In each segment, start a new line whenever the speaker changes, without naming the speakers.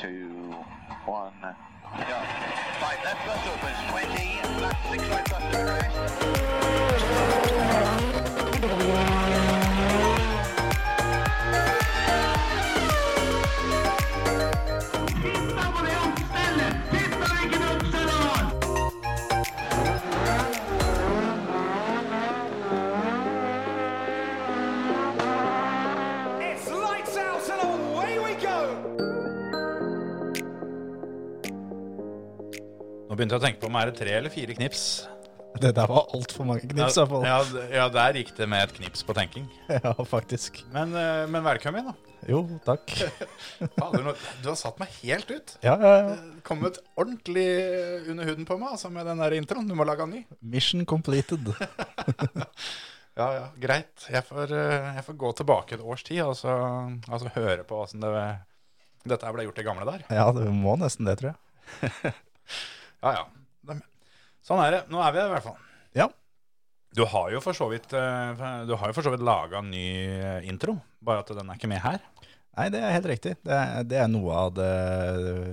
two, one.
Yeah. Right, left bus opens 20, left six right bus to rest.
It's lights out and away we go!
Nå begynte jeg å tenke på om er det tre eller fire knips.
Det der var altfor mange knips, i hvert fall.
ja, d- ja, der gikk det med et knips på tenking.
Ja, faktisk.
Men, eh, men velkommen, da.
Jo, takk.
Fader, nå, du har satt meg helt ut.
Ja, ja, ja.
Kommet ordentlig under huden på meg altså med den der introen. Du må lage en ny.
Mission completed.
Ja, ja, greit. Jeg får, eh, jeg får gå tilbake et års tid og så altså, høre på åssen det, dette her ble gjort i gamle der.
Ja, du må nesten det, tror jeg.
Ja, ja. Dem- Sånn er det. Nå er vi der, i hvert fall.
Ja.
Du har jo for så vidt, eh, du har jo for så vidt laga en ny eh, intro, bare at den er ikke med her.
Nei, det er helt riktig. Det er, det er noe, av det,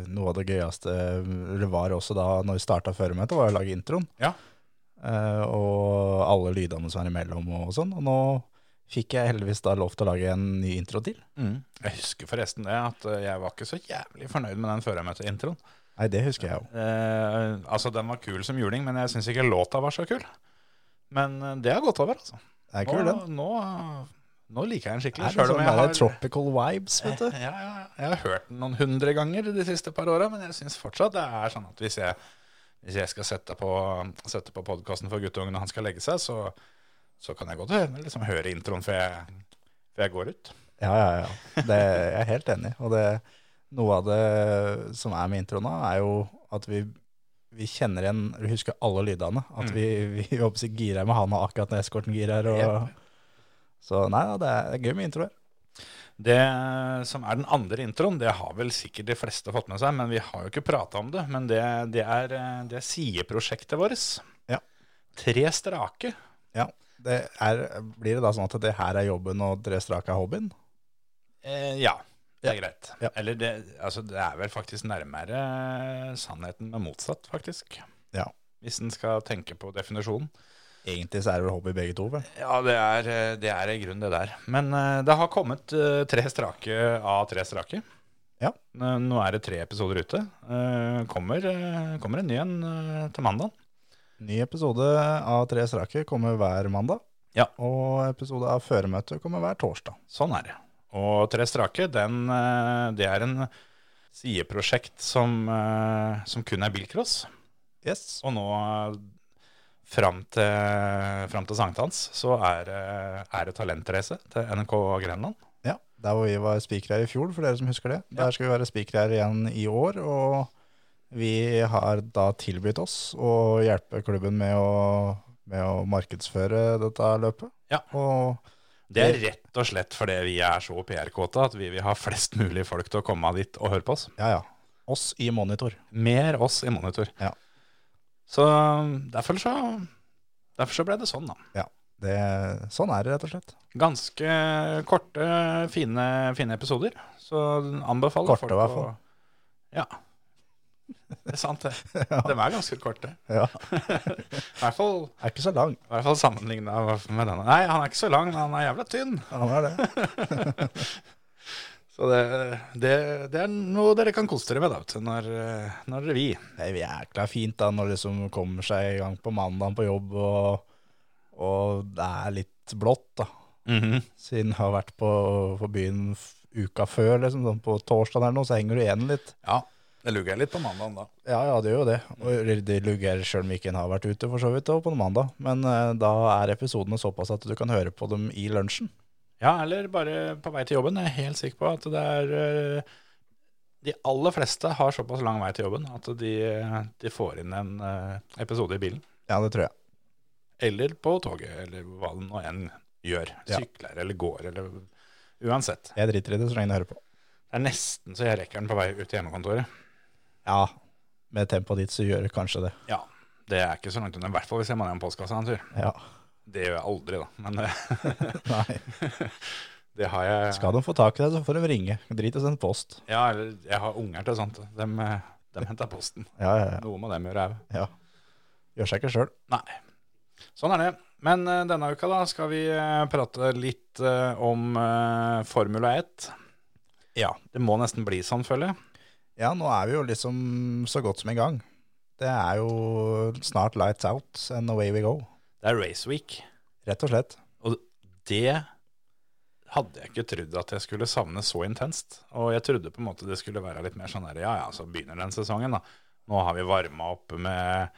noe av det gøyeste det var også da når vi starta føremøtet, var å lage introen.
Ja.
Eh, og alle lydene som er imellom og sånn. Og nå fikk jeg heldigvis da lov til å lage en ny intro til.
Jeg husker forresten det, at eh, jeg var ikke så jævlig fornøyd med den før jeg møtte introen.
Nei, det husker jeg jo.
Eh, altså, den var kul som juling, men jeg syns ikke låta var så kul. Men eh, det har gått over, altså.
Det er kul,
nå,
den.
nå, nå liker jeg den
Det
skikkelig.
er litt
selv om
sånn
jeg
der
har-
tropical vibes, vet du.
ja, ja, ja. Jeg har hørt den noen hundre ganger de siste par åra, men jeg syns fortsatt det er sånn at hvis jeg, hvis jeg skal sette på, sette på podkasten for guttungen når han skal legge seg, så, så kan jeg godt høre, liksom, høre introen før jeg, før jeg går ut.
Ja, ja, ja. Det, jeg er helt enig. Og det, noe av det som er med introen nå, er jo at vi, vi kjenner igjen Vi husker alle lydene. At vi, vi håper å si, girer med handa akkurat når eskorten girer.
Jep.
Og, så nei da, det er, det er gøy med introer.
Det eh, som er den andre introen, det har vel sikkert de fleste fått med seg, men vi har jo ikke prata om det. Men det, det er, eh, det er sideprosjektet vårt.
Ja.
Tre strake.
Ja. Det er, blir det da sånn at det her er jobben, og tre strake er hobbyen?
Eh, ja, det er greit.
Ja.
Eller det, altså det er vel faktisk nærmere sannheten med motsatt, faktisk.
Ja.
Hvis en skal tenke på definisjonen.
Egentlig så er det vel hobby begge to, vel?
Ja, det er, eh, det er i grunnen det der. Men eh, det har kommet eh, tre strake av tre strake.
Ja.
Nå nå er det tre episoder ute. Eh, Kommer, eh, kommer en ny en eh, til mandag.
Ny episode av Tre strake kommer hver mandag.
Ja.
Og episode av Føremøtet kommer hver torsdag.
Sånn er det. Og Tre strake, den, eh, det er en sideprosjekt som, eh, som kun er bilcross.
Yes.
Og nå eh, fram til, fram til sankthans så er, det- er det talentreise til NRK Grenland.
Ja, der hvor vi var spikere i fjor, for dere som husker det. Der skal vi være spikere igjen i år, og vi har da tilbudt oss å hjelpe klubben med å, med å markedsføre dette løpet.
Ja.
Og
Det er rett og slett fordi vi er så PR-kåte at vi vil ha flest mulig folk til å komme dit og høre på oss.
ja, ja. Oss i monitor.
Mer oss i monitor.
Ja.
Så um, derfor så, derfor så ble det sånn, da.
Det, sånn er det rett og slett.
Ganske korte, fine, fine episoder. Så anbefaler
Korte,
folk
i hvert fall.
Ja. Det er sant, det. De er ganske korte.
Ja,
I hvert fall,
er ikke så lang.
i hvert fall sammenligna med denne. Nei, han er ikke så lang, men han er jævla tynn.
Han Sånn er det.
Så det, det, det er noe dere kan kose dere med da, vet du, når, når dere vil.
Det er jækla fint da, når det liksom kommer seg i gang på mandagen på jobb, og, og det er litt blått da.
Mhm.
Siden jeg har vært på, på byen f- uka før, liksom, sånn på torsdag eller noe, så henger du igjen litt.
Ja, det luger jeg litt på mandagen da.
Ja, ja, det gjør jo det. Og det lugger sjøl om ikke en har vært ute, for så vidt, og på en mandag. Men eh, da er episodene såpass at du kan høre på dem i lunsjen.
Ja, eller bare på vei til jobben. Jeg er helt sikker på at det er eh, De aller fleste har såpass lang vei til jobben at de, de får inn en eh, episode i bilen.
Ja, det tror jeg.
Eller på toget, eller hva det nå enn gjør.
Ja.
Sykler eller går, eller uansett.
Jeg driter i det så lenge jeg hører på.
Det er nesten så jeg rekker den på vei ut til hjemmekontoret.
Ja, med tempoet ditt så gjør det kanskje det.
Ja, det er ikke så langt unna. I hvert fall hvis jeg må ned en postkasse en tur.
Ja.
Det gjør jeg aldri, da. Men eh,
Nei.
Det har jeg.
Skal de få tak i deg, så får de ringe. Drit i å sende post.
Ja, eller jeg har unger til sånt. De, henter posten.
Ja, ja, ja.
Noe må dem gjøre òg.
ja. Gjør seg ikke sjøl.
Nei. Sånn er det. Men eh, denne uka da skal vi eh, prate litt eh, om eh, Formula 1. Ja, det må nesten bli sånn, føler jeg.
Ja, nå er vi jo liksom så godt som i gang. Det er jo snart lights out and away we go.
Det er Race Week.
Rett og slett.
Og det hadde jeg ikke trodd at jeg skulle savne så intenst. Og jeg trodde på en måte det skulle være litt mer sånn der, ja ja, så begynner den sesongen, da. Nå har vi varma opp med,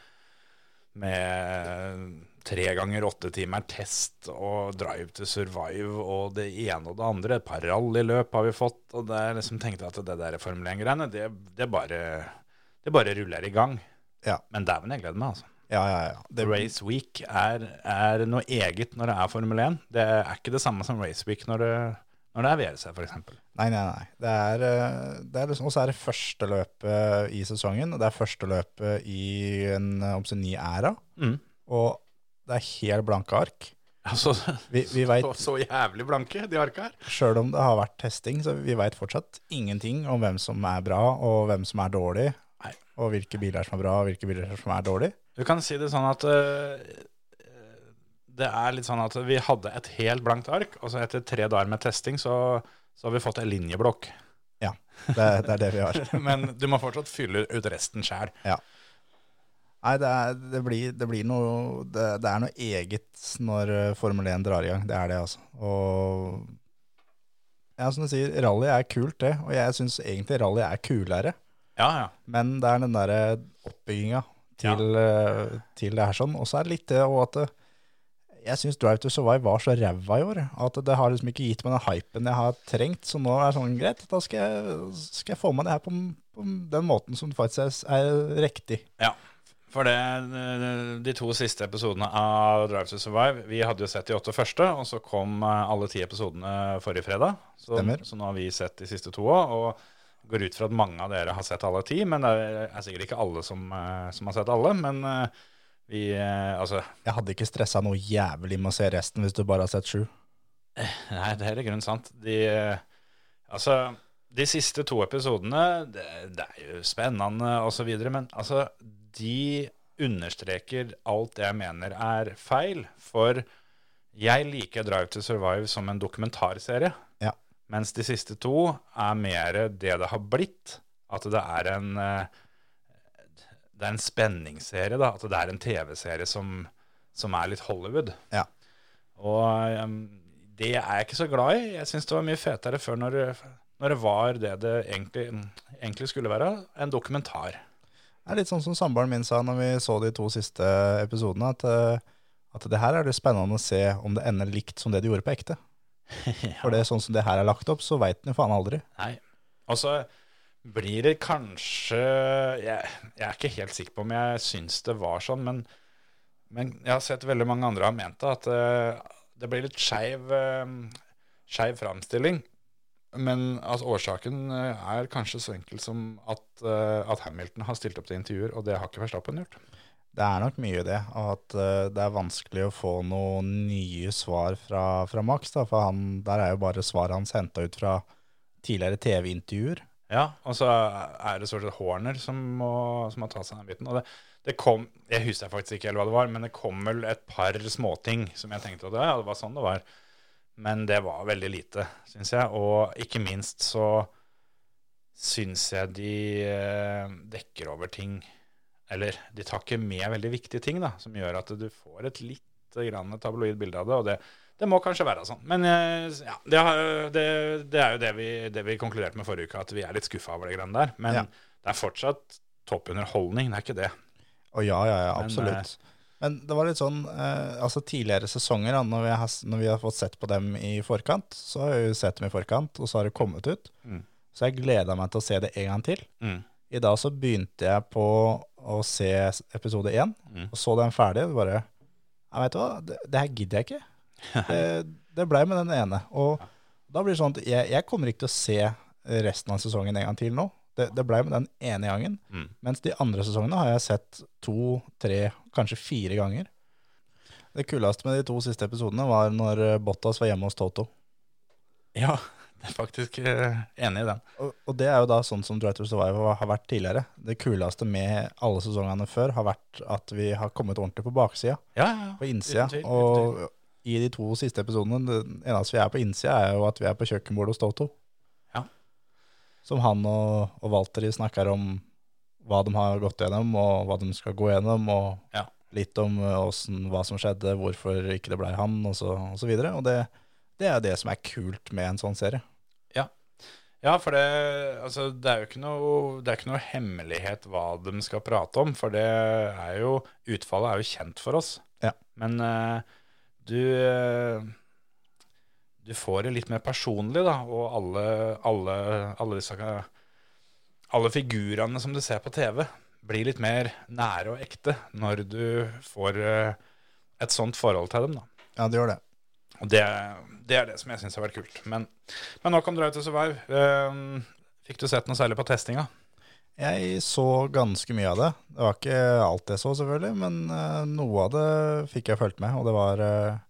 med tre ganger åtte timer test og drive to survive og det ene og det andre. Et par rallyløp har vi fått, og det er liksom tenkte jeg at det der Formel 1-greiene, det, det, bare, det bare ruller i gang.
Ja.
Men dæven, jeg gleder meg, altså.
Ja, ja, ja. Det,
Race Week er, er noe eget når det er Formel 1. Det er ikke det samme som Race Week når det, når det er VRC, f.eks.
Nei, nei, nei. Det er, eh, det er liksom, og så er det første løpet i sesongen. og Det er første løpet i en eh, om sin ny æra.
Mm.
Og det er helt blanke ark.
Altså,
Vi, vi veit,
så, så jævlig blanke, de arka her.
sjøl om det har vært testing, så vi veit fortsatt ingenting om hvem som er bra, og hvem som er dårlig.
Nei.
Og hvilke biler som er bra, og hvilke biler som er dårlig.
Du kan si det sånn at øh, det er litt sånn at vi hadde et helt blankt ark, og så etter tre dager med testing så, så har vi fått en linjeblokk.
Ja, det, det er det vi har.
Men du må fortsatt fylle ut resten sjæl.
Nei, det, er, det, blir, det blir noe det, det er noe eget når eh, Formel 1 drar i gang. Det er det, altså. Og ja, som du sier, rally er kult, det. Og jeg syns egentlig rally er kulere.
Ja, ja.
Men det er den derre oppbygginga til, eh, til det her sånn. Og så er det litt det og at eh, jeg syns Drive to Survive var så ræva i år. At det har liksom ikke gitt meg den hypen jeg har trengt. Så nå er det sånn greit, da skal jeg, skal jeg få med det her på, på den måten som faktisk er, er riktig.
Ja, for det, eh, de to siste episodene av Drive to Survive Vi hadde jo sett de åtte første, og så kom eh, alle ti episodene forrige fredag. Så,
Stemmer.
så nå har vi sett de siste to òg, og går ut fra at mange av dere har sett alle ti. Men det er sikkert ikke alle som, eh, som har sett alle. Men eh, vi eh, Altså,
Jeg hadde ikke stressa noe jævlig med å se resten hvis du bare har sett sju.
Nei, det er i grunnen sant. De, eh, altså, de siste to episodene, det, det er jo spennende og så videre, men altså, de understreker alt det jeg mener er feil, for jeg liker Drive to Survive som en dokumentarserie,
Ja.
mens de siste to er mer det det har blitt, at det er en... eh, Det er en spenningsserie da, at det er en tv-serie som, som er litt Hollywood.
Ja.
Og ehm, det er jeg ikke så glad i. Jeg syns det var mye fetere før når, når det var det det egentlig, egentlig skulle være, en dokumentar.
Det er litt sånn som samboeren min sa når vi så de to siste episodene, at, eh, at det her er det spennende å se om det ender likt som det de gjorde på ekte. For det er sånn som det her er lagt opp, så veit en jo faen aldri.
Nei. Og så blir det kanskje jeg, jeg er ikke helt sikker på om jeg syns det var sånn, men, men jeg har sett veldig mange andre har ment det, at eh, det blir litt skeiv uh, framstilling. Men at årsaken eh, er kanskje så enkel som at, eh, at Hamilton har stilt opp til intervjuer, og det har ikke Verstappen gjort.
Det er nok mye i det, og at eh, det er vanskelig å få noen nye svar fra, fra Max. Da, for han, der er jo bare svaret hans henta ut fra tidligere TV-intervjuer.
Ja, og så er det stort sett Horner som, må, som har tatt seg den biten. Og det, det kom, jeg husker faktisk ikke helt hva det var, men det kom vel et par småting som jeg tenkte at ja, det var sånn det var. Men det var veldig lite, syns jeg. Og ikke minst så syns jeg de eh, dekker over ting Eller de tar ikke med veldig viktige ting, da, som gjør at du får et lite grann tabloid bilde av det. Og det, det må kanskje være sånn. Men eh, ja, det, har, det, det er jo det vi, det vi konkluderte med forrige uke, at vi er litt skuffa over det greiene der. Men
Ja.
det er fortsatt toppunderholdning, det er ikke det.
Å ja, ja, ja,
Men, eh,
absolutt. Men det var litt sånn, eh, altså tidligere sesonger, da, når vi, har, når vi har fått sett på dem i forkant, så har vi jo sett dem i forkant, og så har det kommet ut.
Mm.
Så jeg gleda meg til å se det en gang til.
Mm.
I dag så begynte jeg på å se s- episode én,
Mm.
og så den ferdig, og bare Jeg vet du hva, det, det her gidder jeg ikke. Det, det blei med den ene. Og da blir det sånn at jeg, jeg kommer ikke til å se resten av sesongen en gang til nå. Det, det blei med den ene gangen.
Mm.
Mens de andre sesongene har jeg sett to, tre, kanskje fire ganger. Det kuleste med de to siste episodene var når eh, Bottas var hjemme hos Toto.
Ja, jeg er faktisk eh, enig i den.
Og, og det er jo da sånn som Drive to Survive har vært tidligere. Det kuleste med alle sesongene før har vært at vi har kommet ordentlig på baksida,
Ja, ja, ja.
på innsida.
Uten tvil, uten
Og i de to siste episodene, det eneste vi er på innsida, er jo at vi er på kjøkkenbordet hos Toto.
Ja.
Som han og, og Walter snakker om hva de har gått gjennom, og hva de skal gå gjennom, og
Ja.
litt om eh, åssen- hva som skjedde, hvorfor ikke det blei han, og så, og så videre. Og det, det er jo det som er kult med en sånn serie.
Ja, for det, altså, det er jo ikke noe, det er ikke noe hemmelighet hva de skal prate om, for det er jo, utfallet er jo kjent for oss.
Ja.
Men eh, du, eh, du får det litt mer personlig, da, og alle, alle, alle, disse, alle figurene som du ser på TV blir litt mer nære og ekte når du får eh, et sånt forhold til dem, da.
Ja, det gjør det.
Og det, det er det som jeg syns har vært kult. Men, men nå kan du dra ut og survive. Ehm, fikk du sett noe særlig på testinga?
Jeg så ganske mye av det. Det var ikke alt jeg så, selvfølgelig, men eh, noe av det fikk jeg fulgt med. Og det var eh,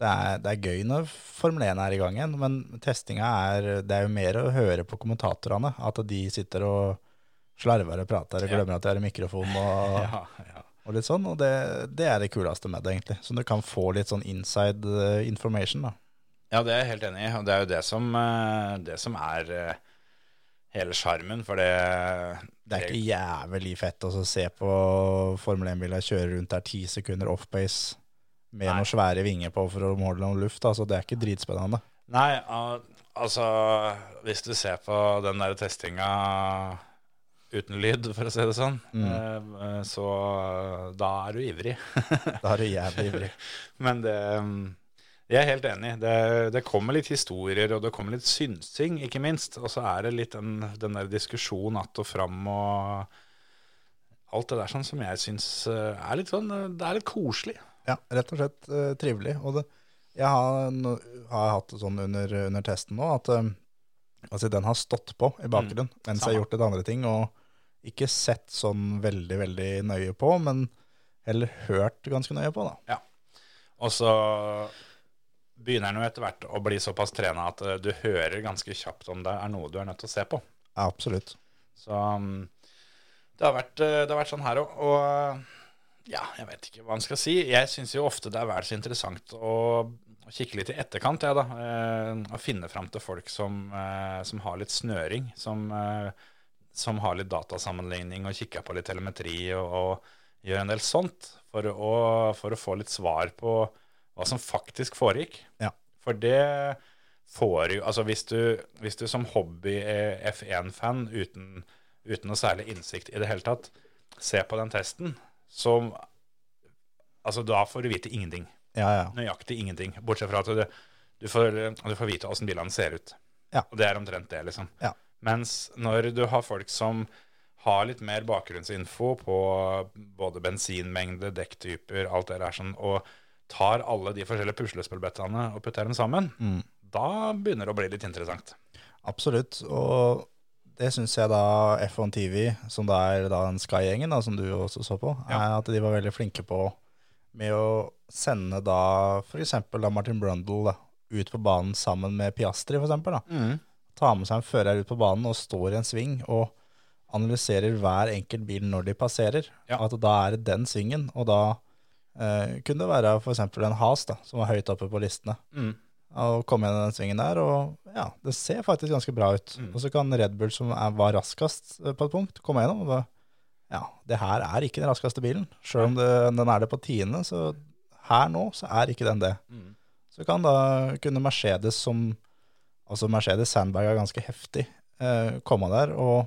det, er, det er gøy når Formel 1 er i gang igjen, men testinga er Det er jo mer å høre på kommentatorene. At de sitter og slarver og prater og
Ja.
glemmer at de har en mikrofon og,
ja.
og litt sånn. Og det, det er det kuleste med det, egentlig. Så du kan få litt sånn inside eh, information, da.
Ja, det er jeg helt enig i. Og det er jo det som, eh, det som er eh, hele sjarmen, for det
Det er ikke jævlig fett å så se på Formel 1-biler kjøre rundt der ti sekunder off-base med
Nei.
noen svære vinger på for å måle noe luft. Altså, det er ikke dritspennende.
Nei, al- altså Hvis du ser på den der testinga uten lyd, for å si det sånn,
Mm.
eh, så da er du ivrig.
Da er du jævlig ivrig.
Men det um, Jeg er helt enig. Det, det kommer litt historier, og det kommer litt synsing, ikke minst. Og så er det litt den, den der diskusjonen att og fram og alt det der sånn som jeg syns eh, er litt sånn eh, Det er litt koselig.
Ja, rett og slett eh, trivelig. Og det, jeg har, no, har hatt det sånn under, under testen nå at eh, altså, den har stått på i bakgrunnen mens jeg
Mm, samme.
har gjort litt andre ting, og ikke sett sånn veldig, veldig nøye på, men heller hørt ganske nøye på, da.
Og så begynner den jo etter hvert å bli såpass trena at eh, du hører ganske kjapt om det er noe du er nødt til å se på.
Ja, absolutt.
Så um, det, har vært, eh, det har vært sånn her òg. Og eh, ja, jeg vet ikke hva en skal si. Jeg syns jo ofte det er vel så interessant å, å kikke litt i etterkant, jeg, da. eh, Å finne fram til folk som, eh, som har litt snøring. Som, eh, som har litt datasammenligning og kikker på litt telemetri og, og gjør en del sånt. For å, for å få litt svar på hva som faktisk foregikk.
Ja.
For det får jo Altså hvis du, hvis du som hobby er F1-fan uten, uten noe særlig innsikt i det hele tatt, ser på den testen, så Altså da får du vite ingenting.
Ja, ja.
Nøyaktig ingenting. Bortsett fra at du, du, får, du får vite åssen bilene ser ut.
Ja.
Og det er omtrent det, liksom.
Ja.
Mens når du har folk som har litt mer bakgrunnsinfo på både bensinmengde, dekktyper, alt det der sånn, og tar alle de forskjellige puslespillbrettene og putter dem sammen,
Mm.
da begynner det å bli litt interessant.
Absolutt, og det syns jeg da F1 TV, som da er da den Sky-gjengen da, som du også så på, er at de var veldig flinke på med å sende da f.eks. da Martin Brundle da, ut på banen sammen med Piastri f.eks. da. Ta med seg en fører ut på banen og står i en sving og analyserer hver enkelt bil når de passerer.
Ja.
At da er det den svingen, og da eh, kunne det være f.eks. en Has da, som var høyt oppe på listene
Mm.
og komme gjennom den svingen der, og ja, det ser faktisk ganske bra ut.
Mm.
Og så kan Red Bull, som er, var raskest eh, på et punkt, komme gjennom. Og da, ja, det her er ikke den raskeste bilen. Selv om det, den er det på tiende, så her nå så er ikke den det.
Mm.
Så kan da kunne Mercedes, som altså Mercedes Sandberg er ganske heftig, eh, komme der og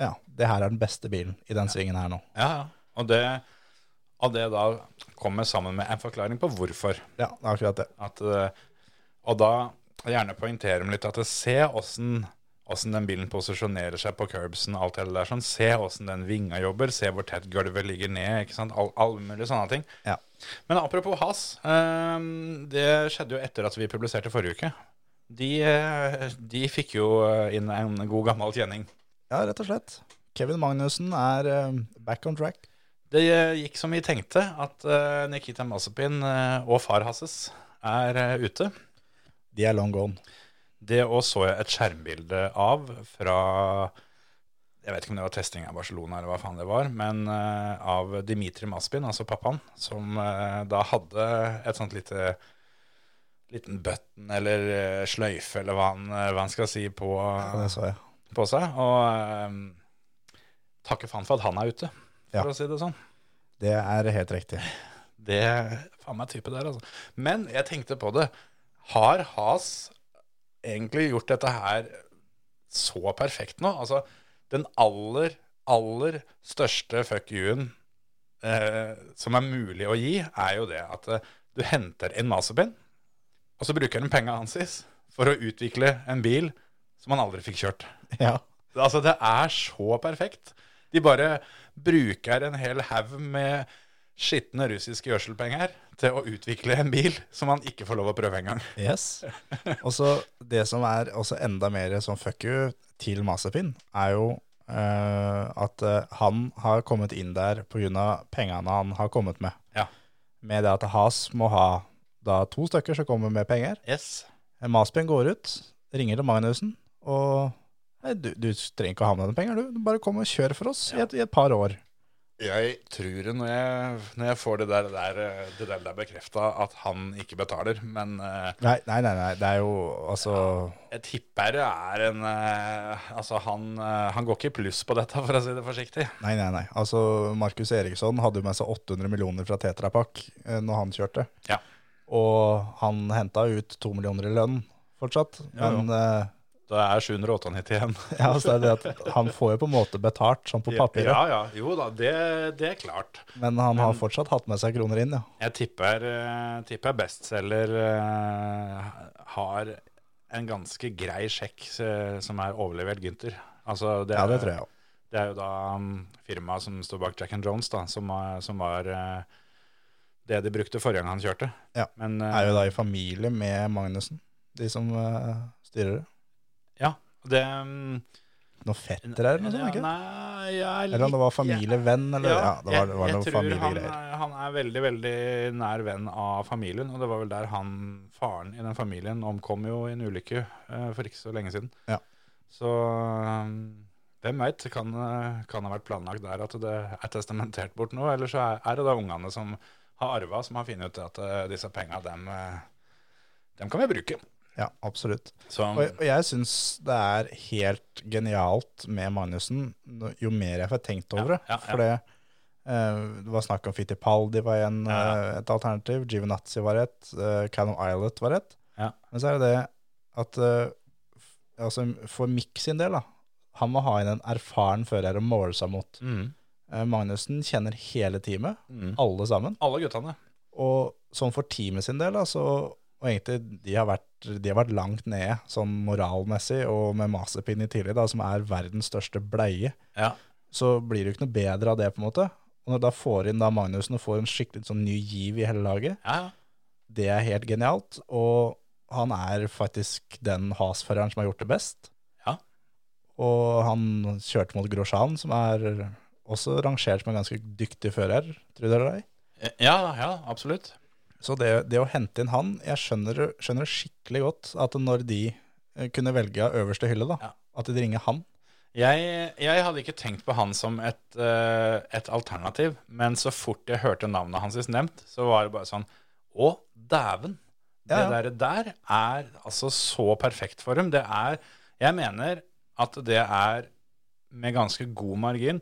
ja, det her er den beste bilen i den svingen her nå.
Ja, ja. Og det, og det da kommer sammen med en forklaring på hvorfor.
Ja, det er akkurat det.
At, eh, og da gjerne poengtere dem litt at eh, se åssen Åssen den bilen posisjonerer seg på curbsen. alt det der sånn. Se åssen den vinga jobber, se hvor tett gulvet ligger ned. ikke sant? All, all mulig sånne ting.
Ja.
Men apropos has, eh, det skjedde jo etter at vi publiserte forrige uke. De, eh, de fikk jo eh, inn en god gammel kjenning.
Ja, rett og slett. Kevin Magnussen er eh, back on track.
Det eh, gikk som vi tenkte, at eh, Nikita Mazepin eh, og far Hasses er eh, ute.
De er long gone.
Det òg så jeg et skjermbilde av fra Jeg vet ikke om det var testing av Barcelona eller hva faen det var, men eh, av Dimitri Maspin, altså pappaen, som eh, da hadde et sånt lite liten button eller eh, sløyfe eller hva han, eh, hva han skal si på,
Det så jeg.
på seg. Og eh, takke faen for at han er ute, for
Ja.
å si det sånn.
Det er helt riktig.
Det er faen meg type der, altså. Men jeg tenkte på det. Har Has egentlig gjort dette her så perfekt nå? Altså, den aller, aller største fuck you-en eh, som er mulig å gi, er jo det at eh, du henter en Mazepin, og så bruker den penga hans for å utvikle en bil som han aldri fikk kjørt.
Ja.
Altså, det er så perfekt. De bare bruker en hel haug med skitne russiske gjødselpenger til å utvikle en bil som man ikke får lov å prøve engang.
Yes. Og så det som er også enda mer sånn fuck you til Mazepin, er jo eh, at eh, han har kommet inn der pga. pengene han har kommet med.
Ja.
Med det at Has må ha da to stykker som kommer med penger.
Yes.
Mazepin Eh, går ut, ringer til Magnussen og Nei, du, du trenger ikke å ha med deg penger, du. Bare kom og kjør for oss i et, i et par år.
Jeg tror når jeg, når jeg får det der, det der, det der, der bekrefta at han ikke betaler, men eh,
Nei, nei, nei, nei. det er jo altså
jeg tipper det er en eh, Altså, han, eh, han går ikke i pluss på dette, for å si det forsiktig.
Nei, nei, nei. Altså, Markus Eriksson hadde jo med seg 800 millioner fra Tetra Pak eh, når han kjørte.
Ja.
Og han henta ut to millioner i lønn fortsatt.
Ja, ja.
Men eh,
Det er 798 igjen.
ja, altså, det er det at han får jo på en måte betalt, sånn på papiret.
Ja, ja. Jo da, det, det er klart.
Men han har fortsatt hatt med seg kroner inn, ja.
Jeg tipper, eh, tipper bestselger eh, har en ganske grei sjekk eh, som er overlevert Gynter. Altså, det,
Ja,
er-
det tror jeg òg.
Det er jo da um, firmaet som står bak Jack and Jones, da, som, er- som var eh, det de brukte forrige gang han kjørte.
Ja.
Men, eh,
Er jo da i familie med Magnussen, de som eh, styrer det.
ja, det um,
Noen fetter her eller noe sånt? ikke?
Nei, jeg er
Eller om det var
litt-
familievenn, eller? Ja, det var, det var
jeg,
noen
jeg tror han,
familiegreier.
er- han er veldig, veldig nær venn av familien, og det var vel der han, faren i den familien, omkom jo i en ulykke eh, for ikke så lenge siden.
Ja.
Så um, hvem veit, kan, eh, kan ha vært planlagt der at det er testamentert bort nå, eller så er, er det da ungene som har arva, som har funnet ut at eh, disse penga, dem, eh, dem kan vi bruke.
Ja, absolutt.
Så
Og, og jeg syns det er helt genialt med Magnussen, no- jo mer jeg får tenkt over det.
ja, ja.
For det eh, det var snakk om Fittipaldi var en,
Ja,
eh, et alternativ, Givenazzi var et, uh, Cannon Islet var et.
Ja.
Men så er det det at eh, f- altså for Mick sin del, da, han må ha inn en erfaren fører å måle seg mot.
mm,
Eh, Magnussen kjenner hele teamet,
mm.
alle sammen.
alle guttene.
Og sånn for teamet sin del, altså, og egentlig de har, vært, de har vært langt nede, sånn moralmessig, og med Mazepin i tidlig, da, som er verdens største bleie,
Ja.
så blir det jo ikke noe bedre av det, på en måte. Og når da får inn da Magnussen og får en skikkelig sånn ny giv i hele laget,
Ja, ja.
det er helt genialt, og han er faktisk den hasføreren som har gjort det best.
Ja.
Og han kjørte mot Grosjean, som er også rangert som en ganske dyktig fører, tror dere det?
Ja, ja, absolutt.
Så det, det å hente inn han, jeg skjønner, skjønner skikkelig godt at når de eh, kunne velge av øverste hylle, da,
Ja.
at de ringer han.
Jeg, jeg hadde ikke tenkt på han som et, eh, et alternativ, men så fort jeg hørte navnet hans sist nevnt, så var det bare sånn Å, dæven! Det
Ja, ja.
der, der er altså så perfekt for dem. Det er Jeg mener at det er med ganske god margin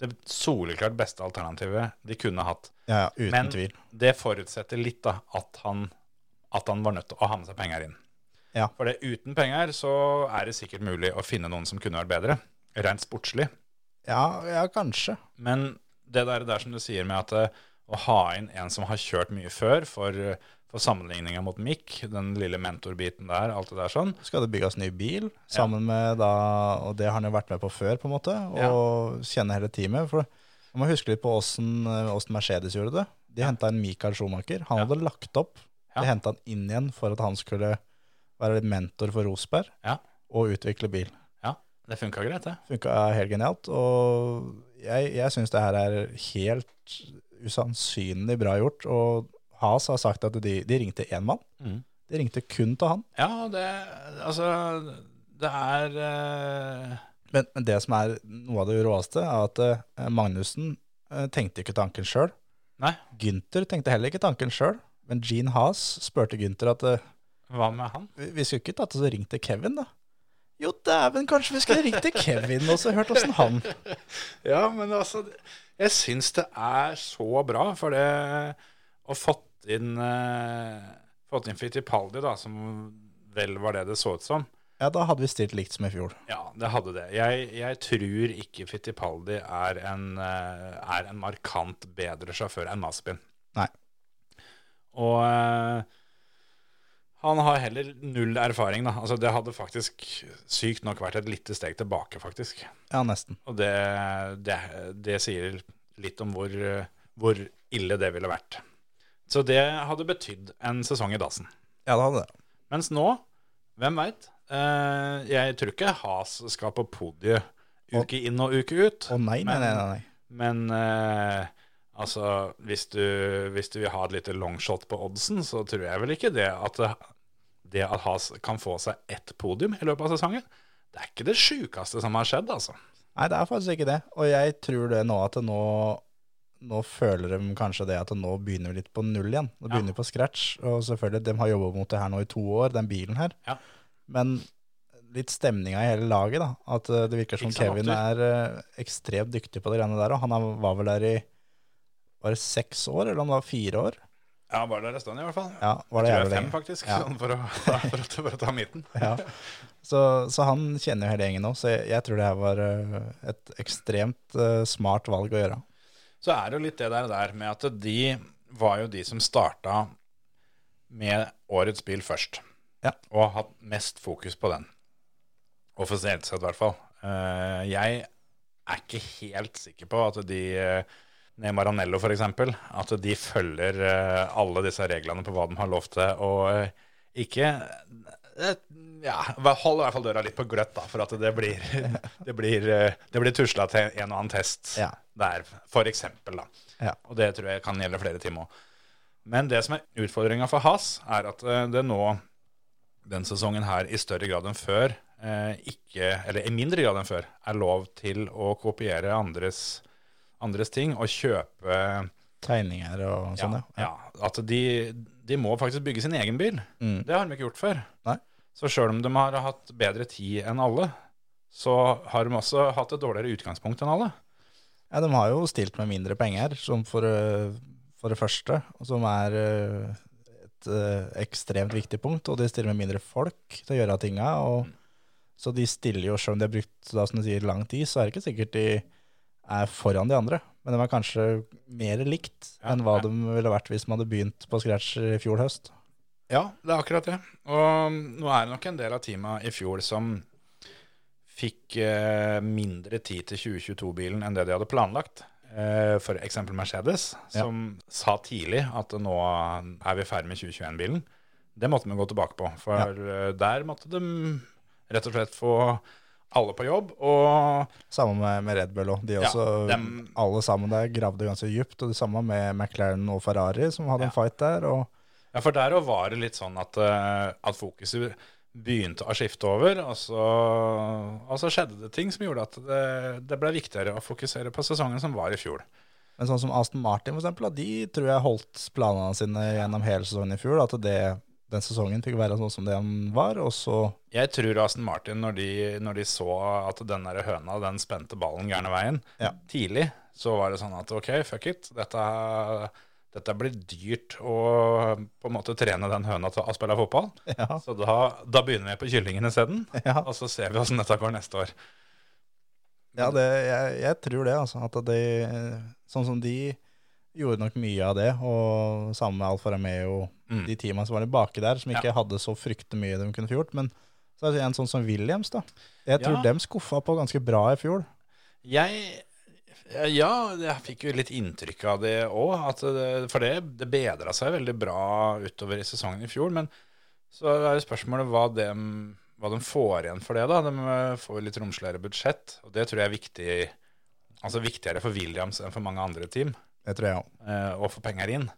det soleklart beste alternativet de kunne hatt.
Ja, ja, uten
Men
tvil.
det forutsetter litt da at han, at han var nødt til å ha med seg penger inn.
Ja.
For det, uten penger så er det sikkert mulig å finne noen som kunne vært bedre, rent sportslig.
Ja, ja, kanskje.
Men det der, der som du sier med at eh, å ha inn en som har kjørt mye før, for, eh, for sammenligninga mot Mick, den lille mentorbiten der, alt det der sånn
Skal det bygges ny bil, sammen med da Og det har han jo vært med på før, på en måte, og kjenner hele teamet. For man må huske litt på åssen Mercedes gjorde det. De henta inn Michael Schumacher. Han
Ja.
hadde lagt opp.
Ja.
De henta han inn igjen for at han skulle være mentor for Rosberg
Ja.
og utvikle bil.
Ja, det funka greit, det.
funka helt genialt. Og jeg, jeg syns det her er helt usannsynlig bra gjort. Og Has har sagt at de, de ringte én mann. De ringte kun til han.
Ja, det Altså, det er eh,
Men, men det som er noe av det råeste, er at eh, Magnussen eh, tenkte ikke tanken sjøl.
Nei.
Gynter tenkte heller ikke tanken sjøl. Men Gene Haas spurte Gynter at eh,
Hva med han?
vi vi skulle ikke tatt oss og ringt til Kevin, da? Jo, dæven, kanskje vi skulle ringt til Kevin og så hørt åssen han
Ja, men altså Jeg syns det er så bra, for det å fått inn eh, Fått inn Fittipaldi, da, som vel var det det så ut som.
Ja, da hadde vi stilt likt som i fjor.
Ja, det hadde det. Jeg, jeg tror ikke Fittipaldi er en, eh, er en markant bedre sjåfør enn Maspin.
Nei.
Og eh, han har heller null erfaring, da. Altså, det hadde faktisk sykt nok vært et lite steg tilbake, faktisk.
Ja, nesten.
Og det, det, det sier litt om hvor, eh, hvor ille det ville vært. Så det hadde betydd en sesong i dassen.
Ja, det hadde det.
Mens nå, hvem veit? Eh, jeg tror ikke Has skal på podiet uke inn og uke ut.
Å nei, nei, nei. nei, nei.
Men eh, altså, hvis du, hvis du vil ha et lite longshot på oddsen, så tror jeg vel ikke det at det at Has kan få seg ett podium i løpet av sesongen, det er ikke det sjukeste som har skjedd, altså.
Nei, det er faktisk ikke det. Og jeg tror det nå at det nå nå føler de kanskje det at nå begynner vi litt på null igjen. Nå begynner vi på scratch. Og selvfølgelig, de har jobba mot det her nå i to år, den bilen her.
Ja.
Men litt stemninga i hele laget, da. At eh, det virker som
Ikke sant,
Kevin er eh, ekstremt dyktig på det greiene der. Og han er- var vel der i var det seks år, eller om det var fire år?
Ja, bare der en stund i hvert fall.
Ja, var det
jeg tror det
jævlig
er fem,
lenge.
faktisk,
Ja.
sånn for, å, for, å, for å ta midten.
Ja. Så, så han kjenner jo hele gjengen nå, så jeg, jeg tror det her var eh, et ekstremt eh, smart valg å gjøre.
Så er det jo litt det der, der med at de var jo de som starta med årets bil først.
Ja.
Og har hatt mest fokus på den. Offisielt sett, i hvert fall. Eh, jeg er ikke helt sikker på at de eh, Ned Maranello, f.eks. At de følger eh, alle disse reglene på hva de har lov til og eh, ikke eh, ja, Hold i hvert fall døra litt på gløtt, da, for at det blir, det blir, eh, det blir tusla til en og annen test
Ja.
der, for eksempel, da.
Ja.
Og det tror jeg kan gjelde flere timer òg. Men det som er utfordringa for Has, er at eh, det nå den sesongen her i større grad enn før eh, ikke, eller i mindre grad enn før, er lov til å kopiere andres, andres ting og kjøpe
Tegninger og sånn, ja.
ja, at de, de må faktisk bygge sin egen bil.
Mm.
Det har de ikke gjort før.
Nei.
Så sjøl om de har hatt bedre tid enn alle, så har de også hatt et dårligere utgangspunkt enn alle.
Ja, de har jo stilt med mindre penger, som for, øh, for det første, og som er øh, et øh, ekstremt viktig punkt. Og de stiller med mindre folk til å gjøre tinga. Og, så de stiller jo, selv om de har brukt da, som du sier, lang tid, så er det ikke sikkert de er foran de andre. Men de er kanskje mer likt
Ja,
enn hva
ja.
de ville vært hvis de hadde begynt på scratch i fjor høst.
Ja, det er akkurat det. Og nå er det nok en del av teama i fjor som fikk eh, mindre tid til 2022-bilen enn det de hadde planlagt. Eh, for eksempel Mercedes,
Ja.
som sa tidlig at nå er vi ferdig med 2021-bilen. Det måtte vi gå tilbake på, for eh, der måtte de rett og slett få alle på jobb. Og
Samme med, med Red Bull òg. De
Ja,
også,
dem-
alle sammen der gravde ganske djupt. Og det samme med McLaren og Ferrari, som hadde
Ja.
en fight der. og
ja, for der òg var det litt sånn at, eh, at fokuset begynte å skifte over, og så, og så skjedde det ting som gjorde at det, det ble viktigere å fokusere på sesongen som var i fjor.
Men sånn som Aston Martin for eksempel, da, de tror jeg holdt planene sine gjennom hele sesongen i fjor. da, At det, den sesongen fikk være sånn som den var, og så
Jeg tror Aston Martin, når de, når de så at den der høna den spente ballen gærne veien
Ja.
tidlig, så var det sånn at ok, fuck it, dette, dette blir dyrt å på en måte trene den høna til å spille fotball.
Ja,
Så da, da begynner vi på kyllingen isteden,
ja,
og så ser vi åssen dette går neste år.
ja det, jeg, jeg tror det, altså. At de, sånn som de gjorde nok mye av det, og sammen med Alfa Romeo,
Mm.
de teamene som var litt baki der, som ikke hadde så fryktelig mye de kunne få gjort. Men så er det en sånn som Williams, da. Jeg tror
Ja.
dem skuffa på ganske bra i fjor.
Jeg eh, Ja, jeg fikk jo litt inntrykk av det òg. For det, det bedra seg veldig bra utover i sesongen i fjor. Men så er jo spørsmålet hva de, hva de får igjen for det. da. De eh, får litt romsligere budsjett. Og det tror jeg er viktig, altså viktigere for Williams enn for mange andre team.
Det tror jeg òg.
eh, Og få penger inn.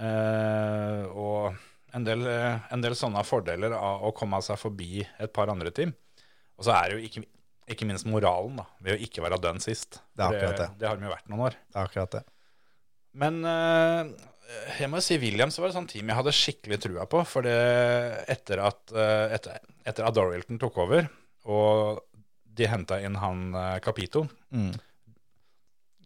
Eh, Og en del, eh, en del sånne fordeler av å komme seg forbi et par andre team. Og så er det jo ikke, ikke minst moralen da, ved å ikke være dønn sist.
Det er
For
akkurat det.
det har de jo vært noen år.
Det er akkurat det.
Men eh, jeg må jo si Williams var et sånt team jeg hadde skikkelig trua på. For det, etter, at, eh, etter, etter at Dorilton tok over, og de henta inn han eh, Capito
Mm.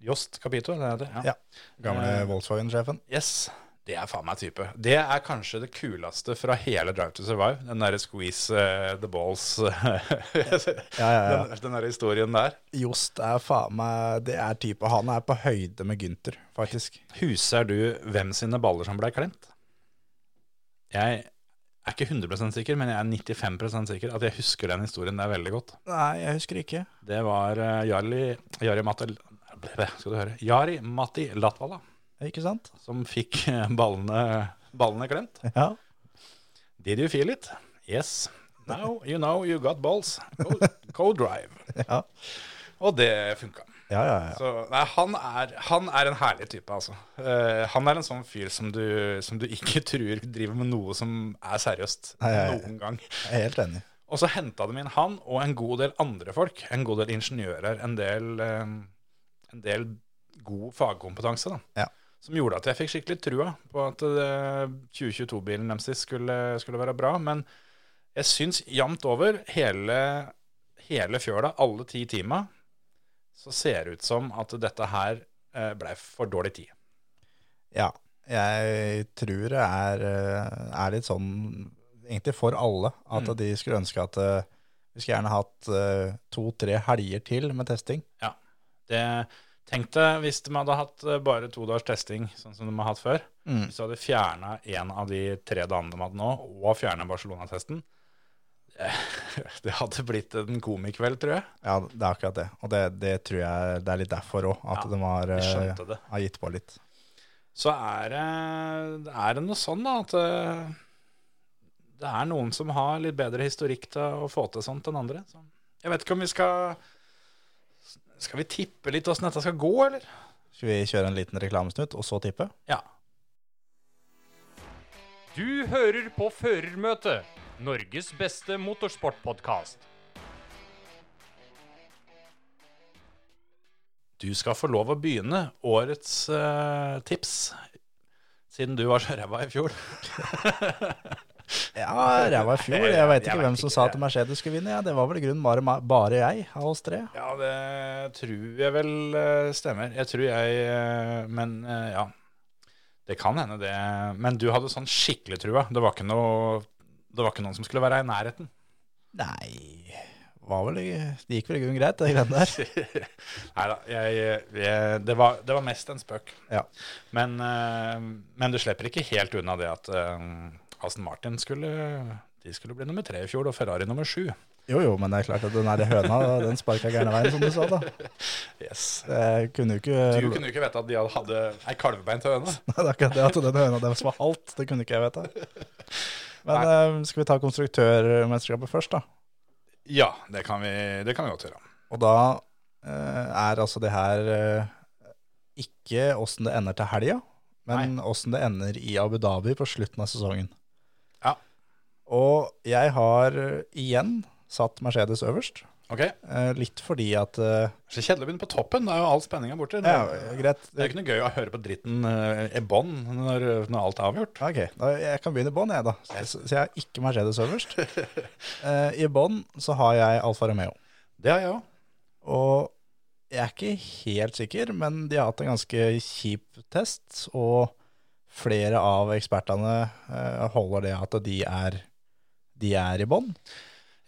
Jost Capito, er det det?
Ja. Gamle
Eh,
Volkswagen-sjefen.
Yes. Det er faen meg type. Det er kanskje det kuleste fra hele Drive to Survive. Den derre Squeeze eh, the Balls
Ja, ja, ja.
Den, den der historien der.
Jost er faen meg Det er type Han er på høyde med Gynter, faktisk.
Huser du hvem sine baller som ble klemt? Jeg er ikke 100 sikker, men jeg er 95 sikker at jeg husker den historien der veldig godt.
Nei, jeg husker ikke.
Det var eh, Jarli, Jari Matti Skal du høre. Jari Matti Latvala
Ikke sant?
som fikk eh, ballene, ballene klemt.
Ja.
Did you feel it? Yes. Now you know you got balls. Go, go drive.
Ja,
Og det funka.
ja, ja. ja.
Så, nei, han, er, han er en herlig type, altså. Eh, han er en sånn fyr som du, som du ikke tror driver med noe som er seriøst
Nei, nei, nei.
noen gang.
Jeg er helt enig.
Og så henta de inn han og en god del andre folk. En god del ingeniører, en del, eh, en del god fagkompetanse, da.
Ja.
Som gjorde at jeg fikk skikkelig trua på at eh, 2022-bilen deres skulle, skulle være bra. Men jeg syns jevnt over, hele, hele fjøla, alle ti tima, så ser det ut som at dette her eh, ble for dårlig tid.
Ja. Jeg tror det er, eh, er litt sånn, egentlig for alle, at de skulle ønske at eh, vi skulle gjerne hatt eh, to-tre helger til med testing.
Det, tenk deg hvis de hadde hatt eh, bare to dagers testing, sånn som de har hatt før. Hvis du hadde fjerna en av de tre dagene de hadde nå, og fjerna Barcelona-testen eh, Det hadde blitt en komikveld, tror jeg.
Ja, det er akkurat det. Og det, det tror jeg det er litt derfor òg, at
Ja,
de har,
Jeg
eh,
skjønte det.
har gitt på litt.
Så er det, er det noe sånn, da, at eh, det er noen som har litt bedre historikk til å få til sånt enn andre. Så jeg vet ikke om vi skal Skal vi tippe litt åssen dette skal gå, eller?
Skal vi kjøre en liten reklamesnutt, og så tippe?
Ja.
Du hører på Førermøtet, Norges beste motorsportpodkast.
Du skal få lov å begynne årets eh, tips, siden du var så ræva i fjor.
Ja, ræva i fjor. Jeg veit ikke hvem som sa at Mercedes skulle vinne. Ja. Det var vel i grunnen bare, ma- bare jeg av oss tre.
Ja, det tror jeg vel eh, stemmer. Jeg tror jeg eh, Men eh, ja. Det kan hende, det. Men du hadde sånn skikkelig trua. Det var ikke, noe, det var ikke noen som skulle være i nærheten.
Nei var vel, Det gikk vel i grunnen greit, det greiene der.
Nei da. Jeg, jeg, det, var, det var mest en spøk.
Ja.
Men, eh, men du slipper ikke helt unna det at eh, Aston Martin skulle de skulle bli nummer tre i fjor, og Ferrari nummer sju.
Jo, jo, men det er klart at den der høna, den sparka gærne veien, som du sa, da.
Yes.
Jeg kunne jo ikke
Du kunne jo ikke vite at de hadde- hadde ei kalvebein til høne.
Nei, det er akkurat det at den høna deres var halvt. Det kunne ikke jeg vite. Men eh, skal vi ta konstruktørmesterskapet først, da?
Ja, det kan vi, det kan vi godt gjøre.
Og da eh, er altså det her eh, ikke åssen det ender til helga, men åssen det ender i Abu Dhabi på slutten av sesongen.
Ja.
Og jeg har eh, igjen satt Mercedes øverst,
Ok,
eh, litt fordi at eh,
Så kjedelig å begynne på toppen. Da er jo all spenninga borte. Det,
Ja, greit.
Mm. det er ikke noe gøy å høre på dritten eh, i bånn når, når alt er avgjort.
Ok, da, jeg kan begynne i bånn, jeg, da. Så, så jeg har ikke Mercedes øverst. Eh, I bånn så har jeg Alfa Romeo.
Det har jeg òg.
Og jeg er ikke helt sikker, men de har hatt en ganske kjip test, og flere av ekspertene eh, holder det at de er, de er i bånn.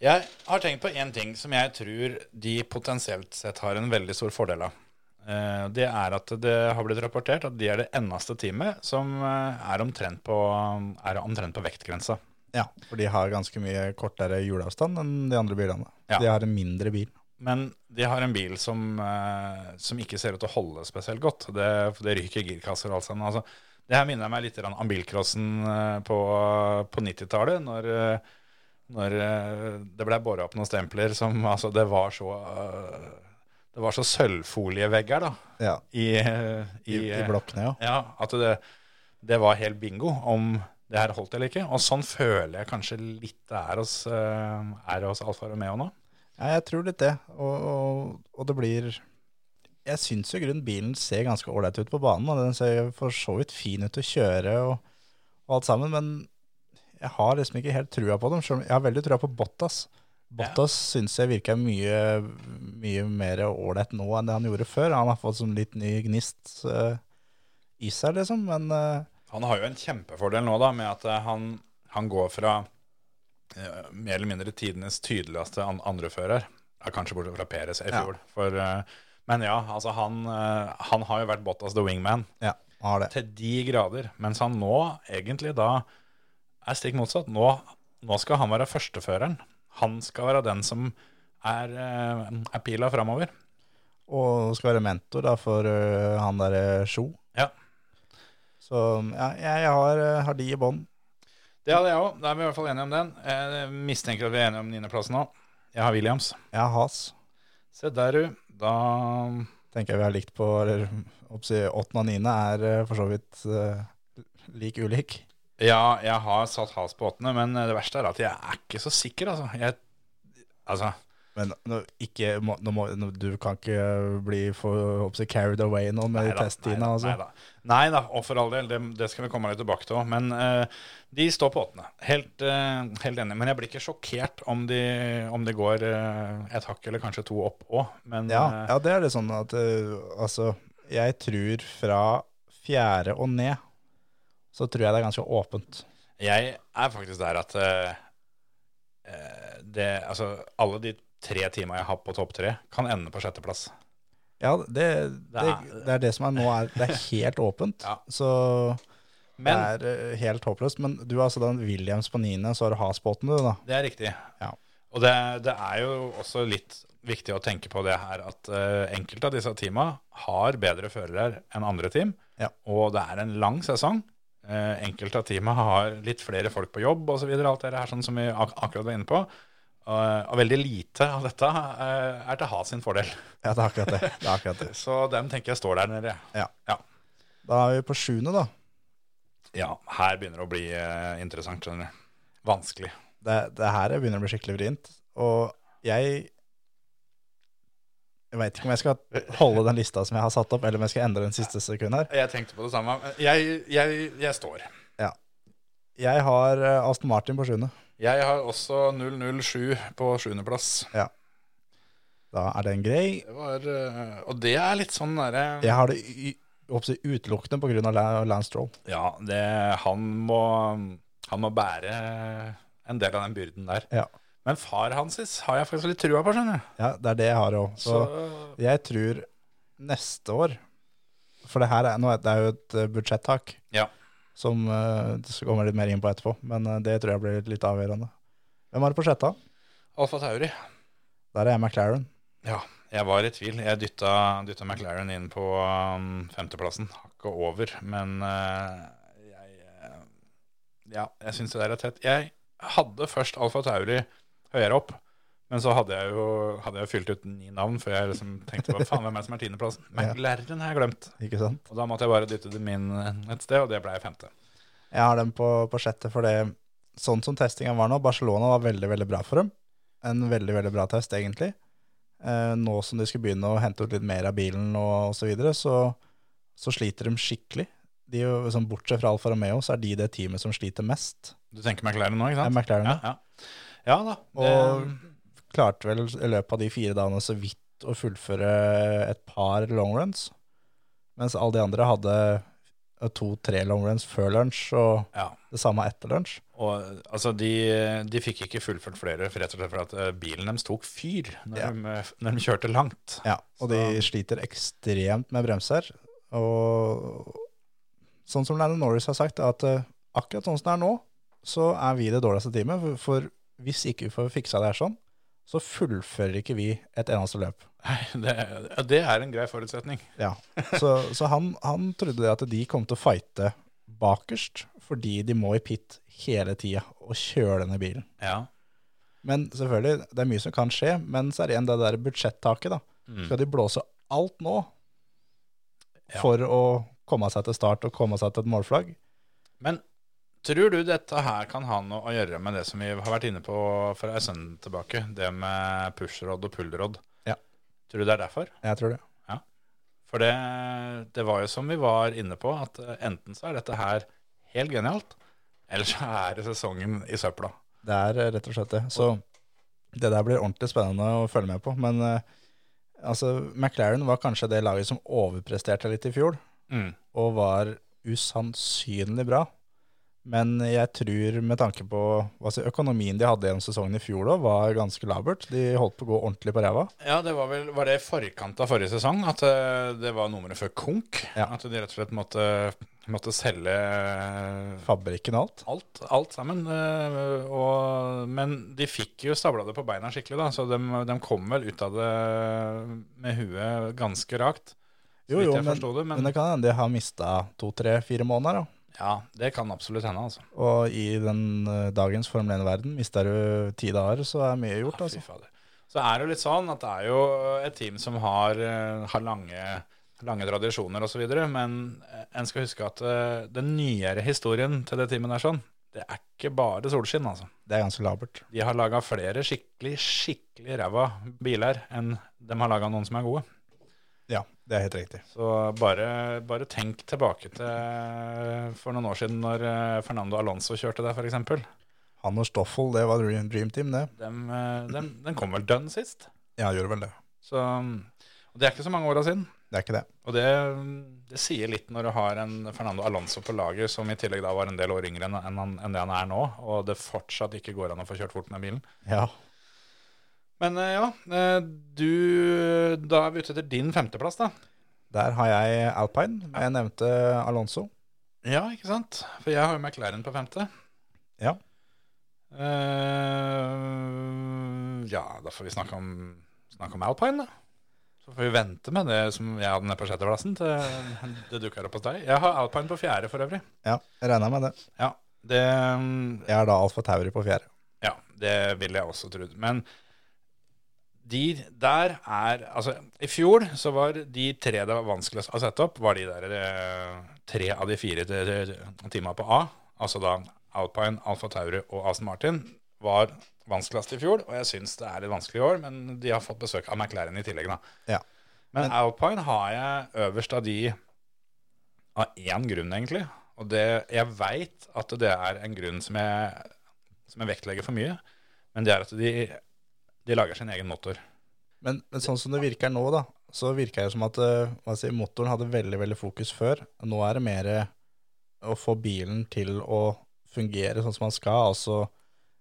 Jeg har tenkt på én ting som jeg tror de potensielt sett har en veldig stor fordel av. Eh, Det er at det har blitt rapportert at de er det eneste teamet som eh, er omtrent på, er omtrent på vektgrensa.
Ja, for de har ganske mye kortere hjulavstand enn de andre bilene.
Ja.
De har en mindre bil.
Men de har en bil som, eh, som ikke ser ut til å holde spesielt godt. Det, for det ryker girkasser og alt sammen. Altså, det her minner meg litt grann om bilcrossen eh, på, på 90-tallet, når, eh, når eh, det ble båra opp noen stempler som altså, Det var så eh, Det var så sølvfolievegger da,
Ja,
i, eh,
i, i blokkene, ja.
ja, at det, det var helt bingo om Det her holdt eller ikke. Og sånn føler jeg kanskje litt det er hos, eh, er hos Alfa Romeo nå.
Ja, jeg tror litt det. Og, og, og det blir Jeg syns jo i grunnen bilen ser ganske ålreit ut på banen. Og den ser jo for så vidt fin ut å kjøre og, og alt sammen, men jeg har liksom ikke helt trua på dem. Selv om jeg har veldig trua på Bottas. Bottas synes syns jeg virker mye, mye mer ålreit nå enn det han gjorde før. Han har fått sånn litt ny gnist eh, i seg, liksom, men eh,
Han har jo en kjempefordel nå da, med at eh, han, han går fra eh, mer eller mindre tidenes tydeligste an andrefører, ja, kanskje bortsett fra Peres i fjor. For, eh, men ja, altså han, eh, han har jo vært Bottas the wingman
ja, han har det.
til de grader, mens han nå egentlig da er stikk motsatt. Nå, nå skal han være førsteføreren. Han skal være den som er, eh, er pila framover.
Og skal være mentor da for eh, han derre Sjo.
Ja.
Så ja, jeg har, eh, har de i bånn.
Det hadde jeg òg. Da er vi i hvert fall enige om den. Jeg mistenker at vi er enige om niendeplassen òg. Jeg har Williams.
Jeg har has.
Se der, du. Da
Tenker jeg vi har likt på Eller oppsi, åttende og niende er eh, for så vidt eh, lik ulik.
Ja, jeg har satt has på åttende, men det verste er at jeg er ikke så sikker, altså. Jeg, altså
Men nå, ikke, må, nå må, nå, du kan ikke bli for oppsi, carried away nå med
Neida,
testina.
neida,
Altså.
neida. Nei da, og for all del, det, det skal vi komme litt tilbake til òg. Men eh, de står på åttende. Helt, eh, helt enig. Men jeg blir ikke sjokkert om de, om de går eh, et hakk eller kanskje to opp òg. Men
Ja,
eh,
ja, det er det sånn at eh, altså Jeg tror fra fjerde og ned så tror jeg det er ganske åpent.
Jeg er faktisk der at eh, eh, det, altså, alle de tre timene jeg har på topp tre, kan ende på sjetteplass.
Ja, det, det,
er-
det er det som er nå. Er, det er helt åpent.
Ja.
Så
Men
det er eh, helt håpløst. Men du har altså da Williams på niende, så har du has på åttende, du, da.
det er riktig.
Ja.
Og det, det er jo også litt viktig å tenke på det her at eh, enkelte av disse teama har bedre førere enn andre team,
Ja.
og det er en lang sesong. Eh, enkelte av teama har litt flere folk på jobb osv., alt det her sånn som vi ak akkurat var inne på. Eh, Og- og veldig lite av dette eh, er til Has sin fordel.
Ja, det er akkurat det. det, er akkurat det.
Så dem tenker jeg står der nede.
Ja.
Ja.
Da er vi på sjuende, da.
Ja, her begynner det å bli eh, interessant, skjønner du. Vanskelig.
Det, det her begynner å bli skikkelig vrient. Og jeg Jeg veit ikke om jeg skal holde den lista som jeg har satt opp, eller om jeg skal endre den siste sekund her.
Jeg tenkte på det samme. Jeg, jeg, jeg står.
Jeg har eh, Aston Martin på sjuende.
Jeg har også 007 på sjuendeplass.
Da er den grei.
Det var eh, Og det er litt sånn derre
Jeg har det y- oppsi utelukkende pga. Lance Stroll.
Ja, det Han må Han må bære en del av den byrden der.
Ja.
Men far hans is, har jeg faktisk litt trua på, skjønner du.
ja, det er det jeg har òg.
Så
Så jeg tror neste år For det her er, nå er det er jo et eh, budsjettak.
Ja.
som eh, det skal komme litt mer inn på etterpå. Men eh, det tror jeg blir litt avgjørende. Hvem er det på sjetta?
Alfa Tauri.
Der er jeg McLaren.
Ja, jeg var i tvil. Jeg dytta, dytta McLaren inn på um, femteplassen. Hakket over, men eh, jeg eh, Ja, jeg syns det der er tett. Jeg hadde først Alfa Tauri høyere opp, men så hadde jeg jo hadde jeg fylt ut ni navn før jeg liksom tenkte på faen, hvem er det som er tiendeplassen? McLaren har jeg glemt.
Ikke sant?
Og da måtte jeg bare dytte dem inn et sted, og det ble jeg femte.
Jeg har dem på, på sjette, for det sånn som testinga var nå Barcelona var veldig, veldig bra for dem. En veldig, veldig bra test, egentlig. Eh, nå som de skal begynne å hente ut litt mer av bilen og, og så videre, så, så sliter de skikkelig. De, er jo, sånn, bortsett fra Alfa Romeo, så er de det teamet som sliter mest.
Du tenker McLaren nå, ikke
Det
sant?
er McLaren, ja.
ja, ja. ja da. Eh,
Og
det-
klarte vel i løpet av de fire dagene så vidt å fullføre et par longruns. Mens alle de andre hadde to-tre longruns før lunsj, og
ja.
det samme etter lunsj.
Og altså, de, de fikk ikke fullført flere, for rett og slett fordi at eh, bilen deres tok fyr når,
Ja.
de, eh, når de kjørte langt.
Ja, og de sliter ekstremt med bremser. Og sånn som Lennon Norris har sagt, at eh, akkurat sånn som det er nå, så er vi det dårligste teamet. for- For hvis ikke vi får fiksa det her sånn, så fullfører ikke vi et eneste løp.
Nei, det, ja, det er en grei forutsetning.
Ja, så, så han, han trodde det at de kom til å fighte bakerst, fordi de må i pit hele tida og kjøre denne bilen.
Ja.
Men selvfølgelig, det er mye som kan skje, men så er det igjen det der budsjettaket, da. Skal de blåse alt nå
Ja.
for å komme seg til start og komme seg til et målflagg?
Men Tror du dette her kan ha noe å gjøre med det som vi har vært inne på for en stund tilbake? Det med pushrodd og pullrodd.
Ja.
Tror du det er derfor?
Jeg tror det.
For det, det var jo som vi var inne på, at eh, enten så er dette her helt genialt, eller så er det sesongen i søpla.
Det er eh, rett og slett det. Så det der blir ordentlig spennende å følge med på. Men eh, altså, McLaren var kanskje det laget som overpresterte litt i fjor,
Mm.
og var usannsynlig bra. Men jeg tror med tanke på altså, økonomien de hadde gjennom sesongen i fjor, da, var ganske labert. De holdt på å gå ordentlig på ræva.
Ja, det var vel var det i forkant av forrige sesong at eh, det var nummeret før konk.
Ja.
At de rett og slett måtte, måtte selge eh,
Fabrikken og alt.
alt, alt sammen. eh, Og, men de fikk jo stabla det på beina skikkelig, da, så de, de kom vel ut av det med huet ganske rakt. Så
Jo,
vidt
jo,
jeg
men,
forsto det, men-
men det kan hende de har mista to-tre-fire måneder. da.
Ja, det kan absolutt hende, altså.
Og i den eh, dagens Formel 1-verden, mister du eh, ti dager, så er mye gjort.
Ja, Ah,
altså.
fy fader. Så er det jo litt sånn at det er jo et team som har, eh, har lange, lange tradisjoner osv., men eh, en skal huske at eh, den nyere historien til det teamet der sånn, det er ikke bare solskinn, altså.
Det er ganske labert.
De har laga flere skikkelig, skikkelig ræva biler enn de har laga noen som er gode.
Ja, det er helt riktig.
Så bare, bare tenk tilbake til for noen år siden når eh, Fernando Alonso kjørte der, f.eks.
Han og Stoffel, det var dream, dream team, det.
Den, den, eh, den kom vel dønn sist.
Ja, gjorde vel det.
Så, og det er ikke så mange åra siden.
Det er ikke det.
Og det, det sier litt når du har en Fernando Alonso på laget, som i tillegg da var en del år yngre enn, enn, han- enn det han er nå, og det fortsatt ikke går an å få kjørt fort med bilen.
Ja.
Men eh, ja, eh, du Da er vi ute etter din femteplass, da.
Der har jeg Alpine, men jeg nevnte Alonso.
Ja, ikke sant? For jeg har jo McLaren på femte.
Ja.
Eh, ja, da får vi snakke om, snakke om Alpine, da. Så får vi vente med det som jeg hadde nede på sjetteplassen, til det dukker opp hos deg. Jeg har Alpine på fjerde for øvrig.
Ja, jeg regna med det.
Ja, det mm,
Jeg er da Alfa Tauri på fjerde.
Ja, det ville jeg også trodd. Men de der er Altså, i fjor så var de tre det var vanskeligst å sette opp, var de der eh, tre av de fire t- t- timene på A. Altså da Alpine, Alfa Tauri og Aston Martin var vanskeligst i fjor. Og jeg syns det er litt vanskelig i år, men de har fått besøk av McLaren i tillegg, da.
Ja.
Men Alpine har jeg øverst av de av én grunn, egentlig. Og det, jeg veit at det er en grunn som jeg, som jeg vektlegger for mye, men det er at de, de lager sin egen motor.
Men, men sånn som det virker nå, da, så virker det som at eh, hva skal jeg si, motoren hadde veldig veldig fokus før. Nå er det mer eh, å få bilen til å fungere sånn som man skal, altså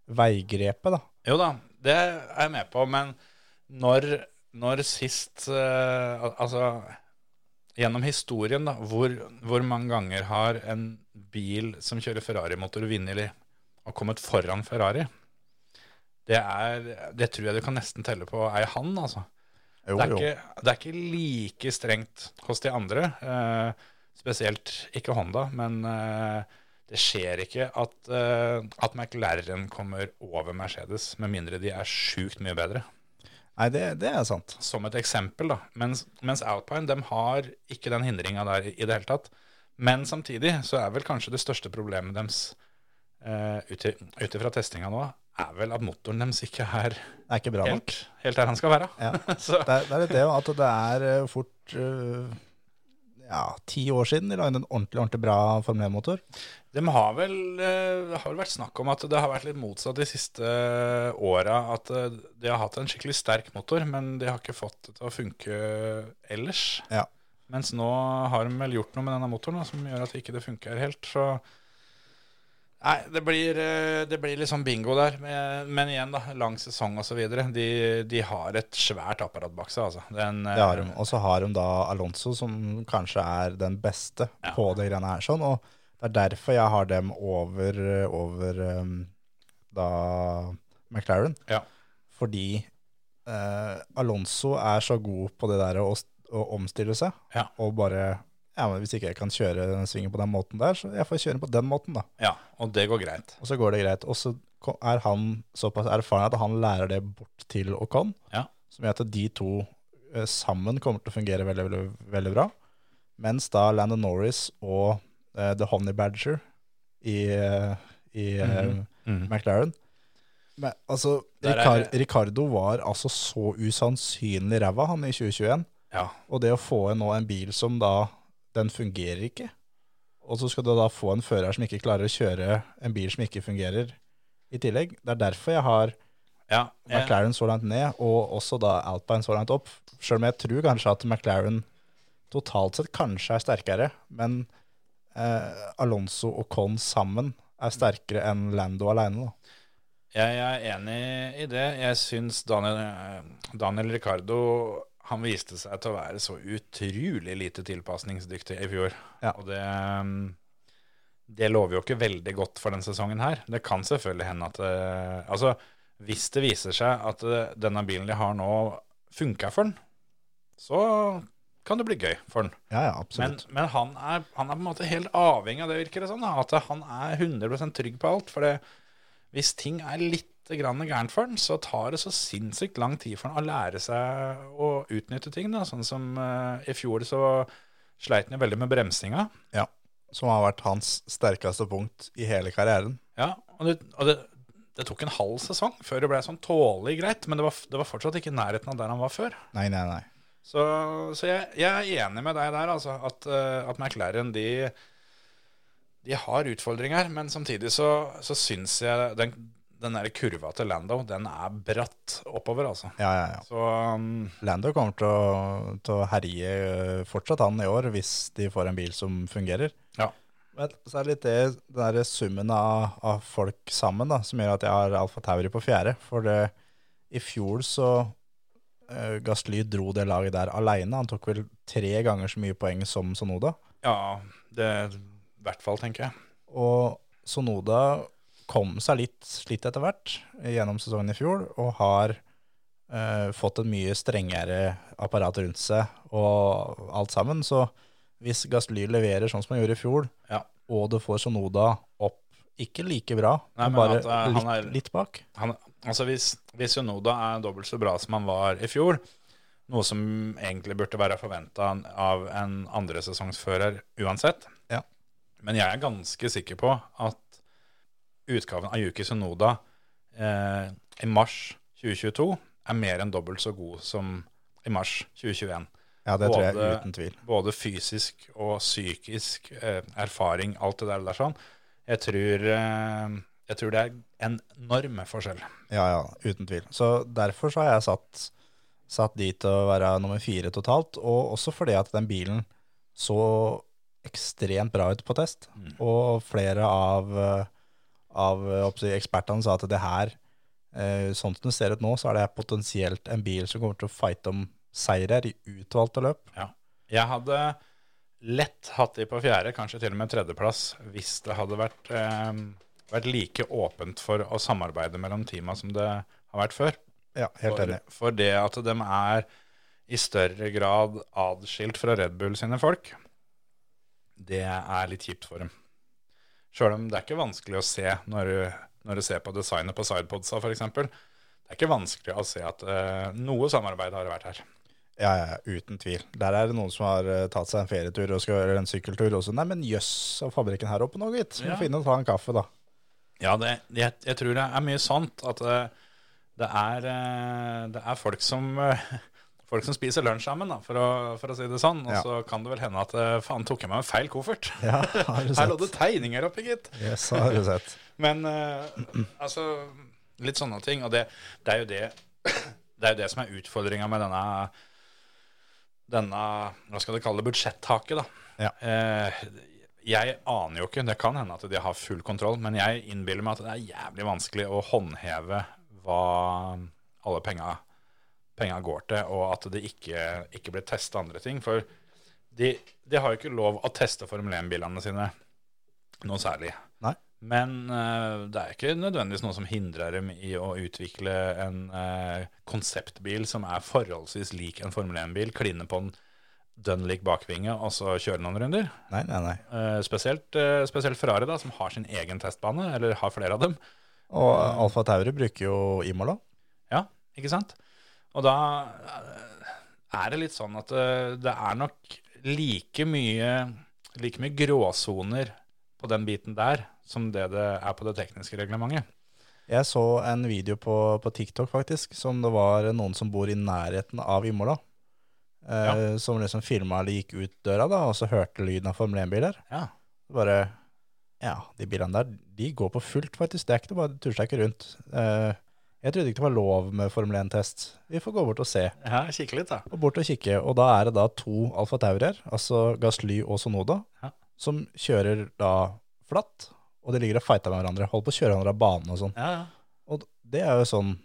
veigrepet, da.
Jo da, det er jeg med på, men når, når sist eh, al- Altså gjennom historien, da, hvor, hvor mange ganger har en bil som kjører Ferrari-motor, vunnet i- og kommet foran Ferrari? Det, er, det tror jeg du kan nesten telle på ei hand, altså.
Jo,
det, er
jo.
ikke, det er ikke like strengt hos de andre. eh, spesielt ikke Honda, men eh, det skjer ikke at, eh, at McLaren kommer over Mercedes, med mindre de er sjukt mye bedre.
Nei, det, det er sant.
Som et eksempel, da. Mens, mens Alpine de har ikke den hindringa der i det hele tatt. Men samtidig så er vel kanskje det største problemet deres eh, ut i- ut ifra testinga nå, er vel at motoren deres ikke er
Det er ikke bra nok.
helt, helt der han skal være.
Ja.
så,
Det er, det er litt det jo, at det er eh, fort eh, ja, ti år siden de lagde en ordentlig ordentlig bra Formel 1-motor.
De har vel, eh, det har vel vært snakk om at det har vært litt motsatt de siste åra. At eh, de har hatt en skikkelig sterk motor, men de har ikke fått det til å funke ellers.
Ja.
Mens nå har de vel gjort noe med denne motoren da, som gjør at ikke det funker helt. Så Nei, det blir, eh, det blir litt sånn bingo der. Men, men igjen, da. Lang sesong osv. De, de har et svært apparat bak seg, altså. Den, eh,
Det har de. Og så har de da Alonso, som kanskje er den beste på det greiene her. sånn, Og det er derfor jeg har dem over, eh, over eh, da McLaren.
Ja.
Fordi eh, Alonso er så god på det der å, å omstille seg.
Ja.
Og bare ja, men Hvis ikke jeg kan kjøre den svingen på den måten der, så jeg får kjøre den på den måten, da.
ja, og det går greit.
Og så går det greit. Og så ko- er han såpass erfaren at han lærer det bort til Ocon,
Ja.
som gjør at de to eh, sammen kommer til å fungere veldig, veldig, veldig bra. Mens da Landon Norris og eh, The Honey Badger i, eh, i eh, McLaren. Men altså,
Mhm. Der er-
Ricard, Ricardo var altså så usannsynlig ræva, han, i 2021.
Ja.
Og det å få en, nå en bil som da Den fungerer ikke. Og så skal du da få en fører som ikke klarer å kjøre en bil som ikke fungerer, i tillegg. Det er derfor jeg har
Ja, jeg-
McLaren så langt ned, og også da Alpine så langt opp. Selv om jeg tror kanskje at McLaren totalt sett kanskje er sterkere, men eh, Alonso og Con sammen er sterkere enn Lando alene. Da.
Jeg er enig i det. Jeg syns Daniel, eh, Daniel Ricardo han viste seg til å være så utrolig lite tilpasningsdyktig i fjor.
Ja.
Og det, mm, det lover jo ikke veldig godt for den sesongen her. Det kan selvfølgelig hende at eh, Altså, hvis det viser seg at eh, denne bilen de har nå, funka for den, så kan det bli gøy for den.
Ja, ja,
Men,
absolutt.
men han, er, han er på en måte helt avhengig av det, virker det sånn, da, at han er 100 trygg på alt. For det, hvis ting er litt grann gærent for han, så tar det så sinnssykt lang tid for han å lære seg å utnytte ting. Da. Sånn som eh, i fjor så sleit han jo veldig med bremsinga.
ja. Som har vært hans sterkeste punkt i hele karrieren.
Ja, og det, og det, det tok en halv sesong før det ble sånn tålelig greit, men det var, det var fortsatt ikke i nærheten av der han var før.
Nei, nei, nei.
Så, så jeg, jeg er enig med deg der, altså, at, eh, at McLaren de, de har utfordringer, men samtidig så, så syns jeg den, den der kurva til Lando, den er bratt oppover, altså.
Ja, ja, ja.
Så um,
Lando kommer til å, til å herje eh, fortsatt han i år, hvis de får en bil som fungerer.
ja.
Men så er det litt det, den der summen av, av folk sammen da, som gjør at jeg har Alfa Tauri på fjerde. For det, i fjor så uh, Gasly dro det laget der alene. Han tok vel tre ganger så mye poeng som Sonoda.
ja, det i hvert fall, tenker jeg.
Og Sonoda kom seg litt slitt etter hvert gjennom sesongen i fjor, og har eh, fått et mye strengere apparat rundt seg og alt sammen. Så hvis Gasly leverer sånn som han gjorde i fjor,
Ja.
og du får Sonoda opp ikke like bra,
Nei,
men
men
bare
at, eh,
litt,
han er-
litt bak.
Han, altså hvis, hvis Unoda er dobbelt så bra som han var i fjor, noe som egentlig burde være forventa av en andresesongsfører uansett,
Ja.
Men jeg er ganske sikker på at utgaven av Yuki Sunoda eh, i mars 2022 er mer enn dobbelt så god som i mars 2021.
Ja, det tror jeg
Både-
uten tvil.
Både fysisk og psykisk eh, erfaring, alt det der. der sånn. jeg, tror, eh, jeg tror det er en enorm forskjell.
Ja, ja, uten tvil. Så derfor så har jeg satt, satt de til å være nummer fire totalt, og også fordi at den bilen så ekstremt bra ut på test,
Mm.
og flere av, eh, av eh, oppsi, ekspertene sa at det her, eh, sånn som det ser ut nå, så er det potensielt en bil som kommer til å fighte om seirer i utvalgte løp.
Ja. Jeg hadde lett hatt de på fjerde, kanskje til og med tredjeplass, hvis det hadde vært, eh, vært like åpent for å samarbeide mellom teama som det har vært før.
Ja, helt
For,
enig.
for det at de er i større grad adskilt fra Red Bull sine folk, det er litt kjipt for dem. Sjøl om det er ikke vanskelig å se når du, når du ser på designet på sidepodsa f.eks. Det er ikke vanskelig å se at eh, noe samarbeid har det vært her.
Ja, ja, uten tvil. Der er det noen som har eh, tatt seg en ferietur og skal gjøre en sykkeltur også. Nei, men jøss, så er fabrikken her oppe nå, gitt. Vi
Ja.
må finne og ta en kaffe, da.
Ja, det, jeg, jeg tror det er mye sant at eh, det er, eh, det er folk, som, eh, folk som spiser lunsj sammen, da, for, å, for å si det sånn. Og
Ja.
så kan det vel hende at eh, faen, tok jeg meg en feil koffert?
Ja, har du
Her lå
sett.
det tegninger oppi, gitt.
Yes, har du sett.
Men eh, altså, litt sånne ting. Og det, det er jo det Det er jo det som er utfordringa med denne Denne, hva skal du kalle det, budsjettaket, da.
Ja.
Eh, jeg aner jo ikke, det kan hende at de har full kontroll, men jeg innbiller meg at det er jævlig vanskelig å håndheve hva alle penga, penga går til, og at det ikke, ikke blir testa andre ting. For de, de har jo ikke lov å teste Formel 1-bilene sine noe særlig.
Nei.
Men eh, det er ikke nødvendigvis noe som hindrer dem i å utvikle en eh, konseptbil som er forholdsvis lik en Formel 1-bil, kline på en dønn lik bakvinge og så kjøre noen runder.
Nei, nei, nei.
Eh, spesielt, eh, spesielt Ferrari, da, som har sin egen testbane, eller har flere av dem.
Og Alfa Tauri bruker jo Imola.
Ja, ikke sant? Og da eh, er det litt sånn at eh, det er nok like mye, like mye gråsoner på den biten der som det det er på det tekniske reglementet.
Jeg så en video på, på TikTok faktisk, som det var noen som bor i nærheten av Imola. Eh, Som liksom filma eller gikk ut døra, da, og så hørte lyden av Formel 1-biler.
Ja.
Bare Ja, de bilene der, de går på fullt, faktisk. Det er ikke det, bare turer seg ikke rundt. Eh, jeg trodde ikke det var lov med Formel 1-test. Vi får gå bort og se.
Ja, kikke litt, da.
Og bort og kikke. Og da er det da to Alfa Taurier, altså Gasly og Sonoda,
Ja.
som kjører da flatt, og de ligger og fighter med hverandre. Holder på å kjøre hverandre av banen og sånn.
Ja, ja.
Og det er jo sånn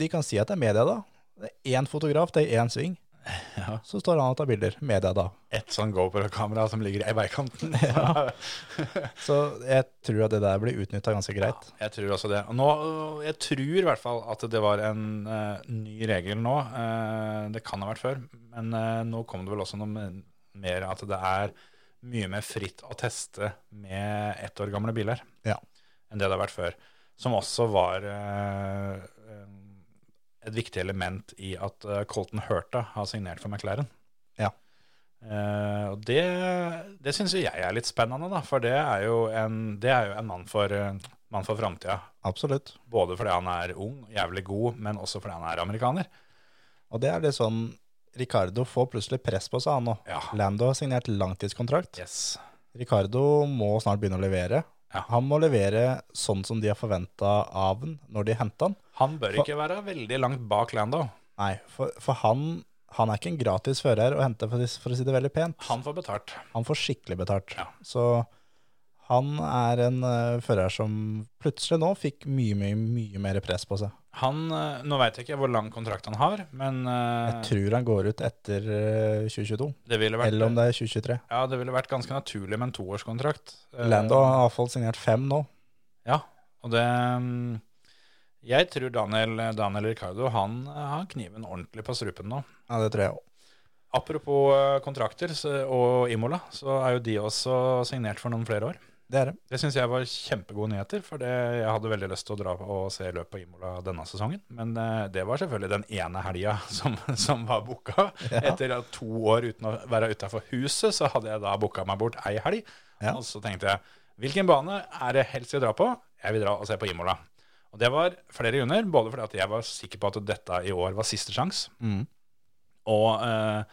De kan si at det er media, da. Det er én fotograf, det er én sving.
Ja.
Så står han og tar bilder. Media, da.
Et sånn GoPro-kamera som ligger i veikanten.
Så jeg tror at det der blir utnytta ganske greit.
Jeg tror også det. Og Nå, jeg tror i hvert fall at det var en eh, ny regel nå. Eh, det kan ha vært før, men eh, nå kom det vel også noe med- mer at det er mye mer fritt å teste med ett år gamle biler
Ja.
enn det det har vært før. Som også var eh, eh, et viktig element i at eh, Colton Hurta har signert for McLaren.
Ja.
Eh, og det, det syns jo jeg er litt spennende, da, for det er jo en, det er jo en mann for, eh, mann for framtida.
Absolutt.
Både fordi han er ung, jævlig god, men også fordi han er amerikaner.
Og det er litt sånn Ricardo får plutselig press på seg, han nå.
Ja.
Lando har signert langtidskontrakt.
Yes.
Ricardo må snart begynne å levere.
Ja.
Han må levere sånn som de har forventa av han når de henta han.
Han bør
For-
ikke være veldig langt bak Lando.
Nei, for, for han, han er ikke en gratis fører å hente, for, å si- for å si det veldig pent.
Han får betalt.
Han får skikkelig betalt.
Ja.
Så han er en eh, fører som plutselig nå fikk mye, mye, mye mer press på seg.
Han, eh, Nå veit jeg ikke hvor lang kontrakt han har, men eh,
Jeg tror han går ut etter eh, 2022,
det ville vært
eller om det er 2023.
Ja, det ville vært ganske naturlig med en toårskontrakt. Eh,
Lando har iallfall signert fem nå.
Ja, og det mm, Jeg tror Daniel, Daniel Ricardo han eh, har kniven ordentlig på strupen nå.
Ja, det tror jeg òg.
Apropos eh, kontrakter så- og Imola, så er jo de også signert for noen flere år.
Det er det.
Det syns jeg var kjempegode nyheter, for det, jeg hadde veldig lyst til å dra og se løpet på Imola denne sesongen. Men eh, det var selvfølgelig den ene helga som, som var booka. Etter at to år uten å være utafor huset, så hadde jeg da booka meg bort ei helg.
Ja.
Og så tenkte jeg hvilken bane er det helst jeg drar på? Jeg vil dra og se på Imola. Og det var flere grunner, både fordi at jeg var sikker på at dette i år var siste sjanse,
Mm.
og eh,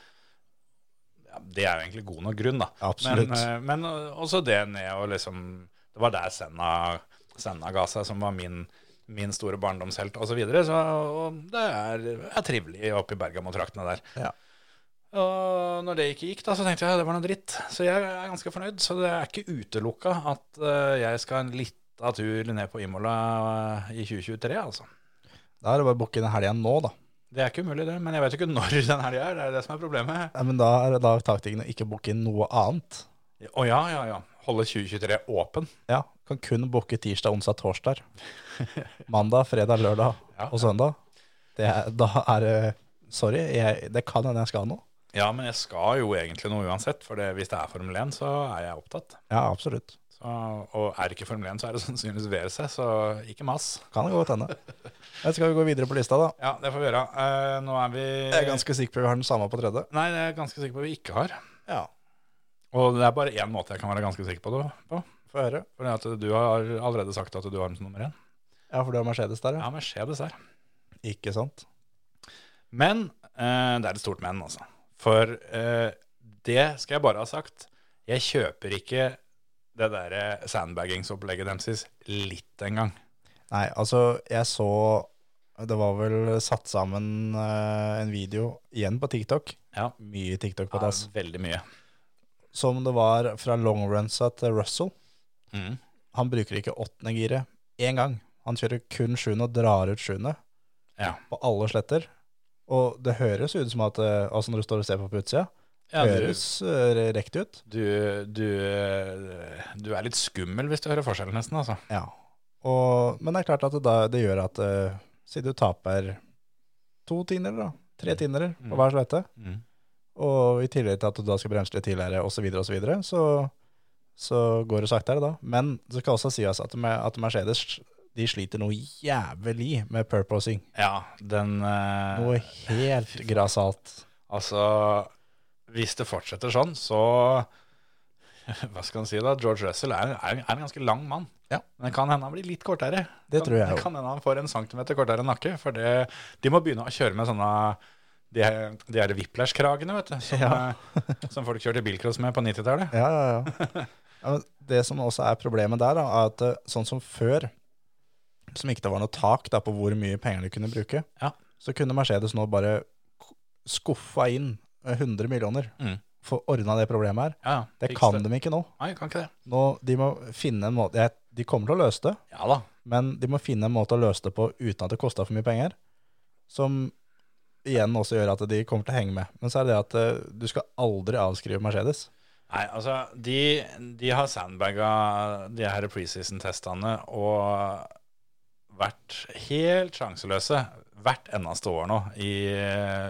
ja, det er jo egentlig god nok grunn, da.
Absolutt.
Men, eh, men også det ned og liksom Det var der Senna, Senna ga seg, som var min, min store barndomshelt osv. Så, videre, så og det er, er trivelig oppe i Bergamo-traktene der.
Ja.
Og når det ikke gikk, da, så tenkte jeg det var noe dritt. Så jeg er ganske fornøyd. Så det er ikke utelukka at eh, jeg skal en lita tur ned på Imola eh, i 2023, altså.
Da er det bare å booke inn helga nå, da.
Det er ikke umulig, det. Men jeg vet jo ikke når den helga er. Det er det som er problemet.
Ja, men da er det da taktikken å ikke booke inn noe annet.
Å ja, ja, ja. Holde 2023 åpen.
Ja, kan kun booke tirsdag, onsdag, torsdag. Mandag, fredag, lørdag
Ja.
og søndag. Det er, da er det Sorry, jeg, det kan hende jeg skal nå.
Ja, men jeg skal jo egentlig noe uansett, for det, hvis det er Formel 1, så er jeg opptatt.
Ja, absolutt.
Så, og er det ikke Formel 1, så er det sannsynligvis VRC, så ikke mas.
Kan det godt hende. Men Skal vi gå videre på lista, da?
Ja, det får vi gjøre. Eh, nå er vi
Jeg er ganske sikker på vi har den samme på tredje.
Nei, det er jeg ganske sikker på vi ikke har.
Ja,
Og det er bare én måte jeg kan være ganske sikker på det på.
Få høre.
For at du har allerede sagt at du har den som nummer én.
Ja, for du har Mercedes der, ja.
Ja, Mercedes her.
Ikke sant?
Men eh, det er et stort men, altså. For eh, det skal jeg bare ha sagt. Jeg kjøper ikke det derre sandbaggingsopplegget deres litt engang.
Nei, altså, jeg så Det var vel satt sammen eh, en video igjen på TikTok.
Ja.
Mye TikTok på det,
Ja,
ass.
veldig mye.
Som det var fra longrunsa til Russell.
Mm.
Han bruker ikke åttende giret én gang. Han kjører kun sjuende og drar ut sjuende
Ja.
på alle sletter. Og det høres ut som at eh, Altså når du står og ser på på utsida,
Ja, du,
høres eh, riktig ut.
du, du, eh, du er litt skummel hvis du hører forskjellen, nesten. Altså.
Ja. Og, men det er klart at det, da, det gjør at eh, si du taper to tiendedeler, da. Tre tiendedeler på
Mm.
hver slette. Og i tillegg til at du da skal bremse litt tidligere osv., så, videre, og så, videre, så så går det saktere da. Men det skal også sies at, me- at Mercedes de sliter noe jævlig med purposing.
Ja, den eh,
Noe helt grassat.
Altså, hvis det fortsetter sånn, så hva skal en si da, George Russell er, er, er en ganske lang mann.
Ja.
Men det kan hende han blir litt kortere.
Det tror jeg
Det
også.
kan hende han får en centimeter kortere nakke. For det, de må begynne å kjøre med sånne de, de her whiplash-kragene, vet du. Som,
Ja.
eh, som folk kjørte bilcross med på 90-tallet.
Ja, ja, ja. ja men det som også er problemet der, da, er at eh, sånn som før, som ikke det var noe tak da, på hvor mye penger de kunne bruke,
Ja.
så kunne Mercedes nå bare k- skuffa inn eh, 100 millioner
Mm.
for å ordne det problemet her.
Ja,
Det kan de ikke nå.
Nei, kan ikke det.
nå de må finne en måte, jeg, de kommer til å løse det,
Ja da.
men de må finne en måte å løse det på uten at det koster for mye penger, som igjen også gjør at de kommer til å henge med. Men så er det det at eh, du skal aldri avskrive Mercedes.
Nei, altså, de, de har sandbaga de her preseason-testene og vært helt sjanseløse hvert eneste år nå, i,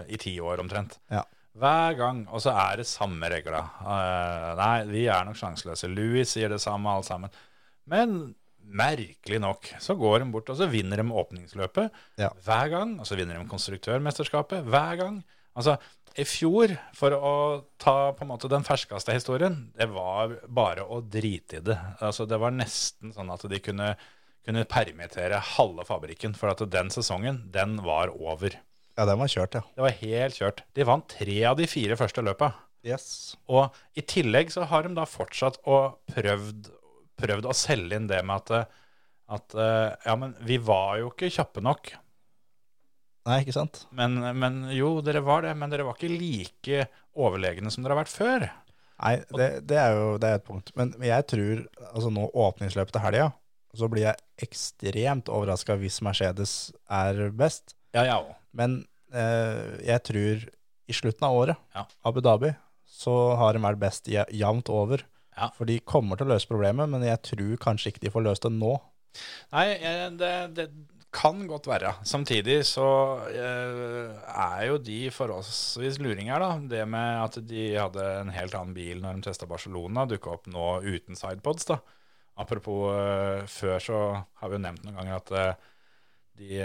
i ti år omtrent.
Ja.
Hver gang, og så er det samme regla. Eh, nei, vi er nok sjanseløse. Louis sier det samme, alt sammen. Men merkelig nok så går de bort, og så vinner de åpningsløpet
Ja.
hver gang. Og så vinner de konstruktørmesterskapet hver gang. Altså, i fjor, for å ta på en måte den ferskeste historien, det var bare å drite i det. Altså, det var nesten sånn at de kunne, kunne permittere halve fabrikken, for at den sesongen, den var over.
Ja, den var kjørt, ja.
Det var helt kjørt. De vant tre av de fire første løpa.
Yes.
Og i tillegg så har de da fortsatt å prøvd, prøvd å selge inn det med at, eh, at eh, ja, men vi var jo ikke kjappe nok.
Nei, ikke sant?
Men, men jo, dere var det, men dere var ikke like overlegne som dere har vært før.
Nei, det, det er jo det er et punkt. Men jeg tror altså nå åpningsløpet til helga, så blir jeg ekstremt overraska hvis Mercedes er best.
Ja, jeg òg.
Men eh, jeg tror i slutten av året,
Ja.
Abu Dhabi, så har de vært best ja- jevnt over.
Ja.
For de kommer til å løse problemet, men jeg tror kanskje ikke de får løst det nå.
Nei, eh, det, det kan godt være. Samtidig så eh, er jo de forholdsvis luringer, da. Det med at de hadde en helt annen bil når de testa Barcelona, dukka opp nå uten sidepods, da. Apropos eh, før, så har vi jo nevnt noen ganger at eh, de,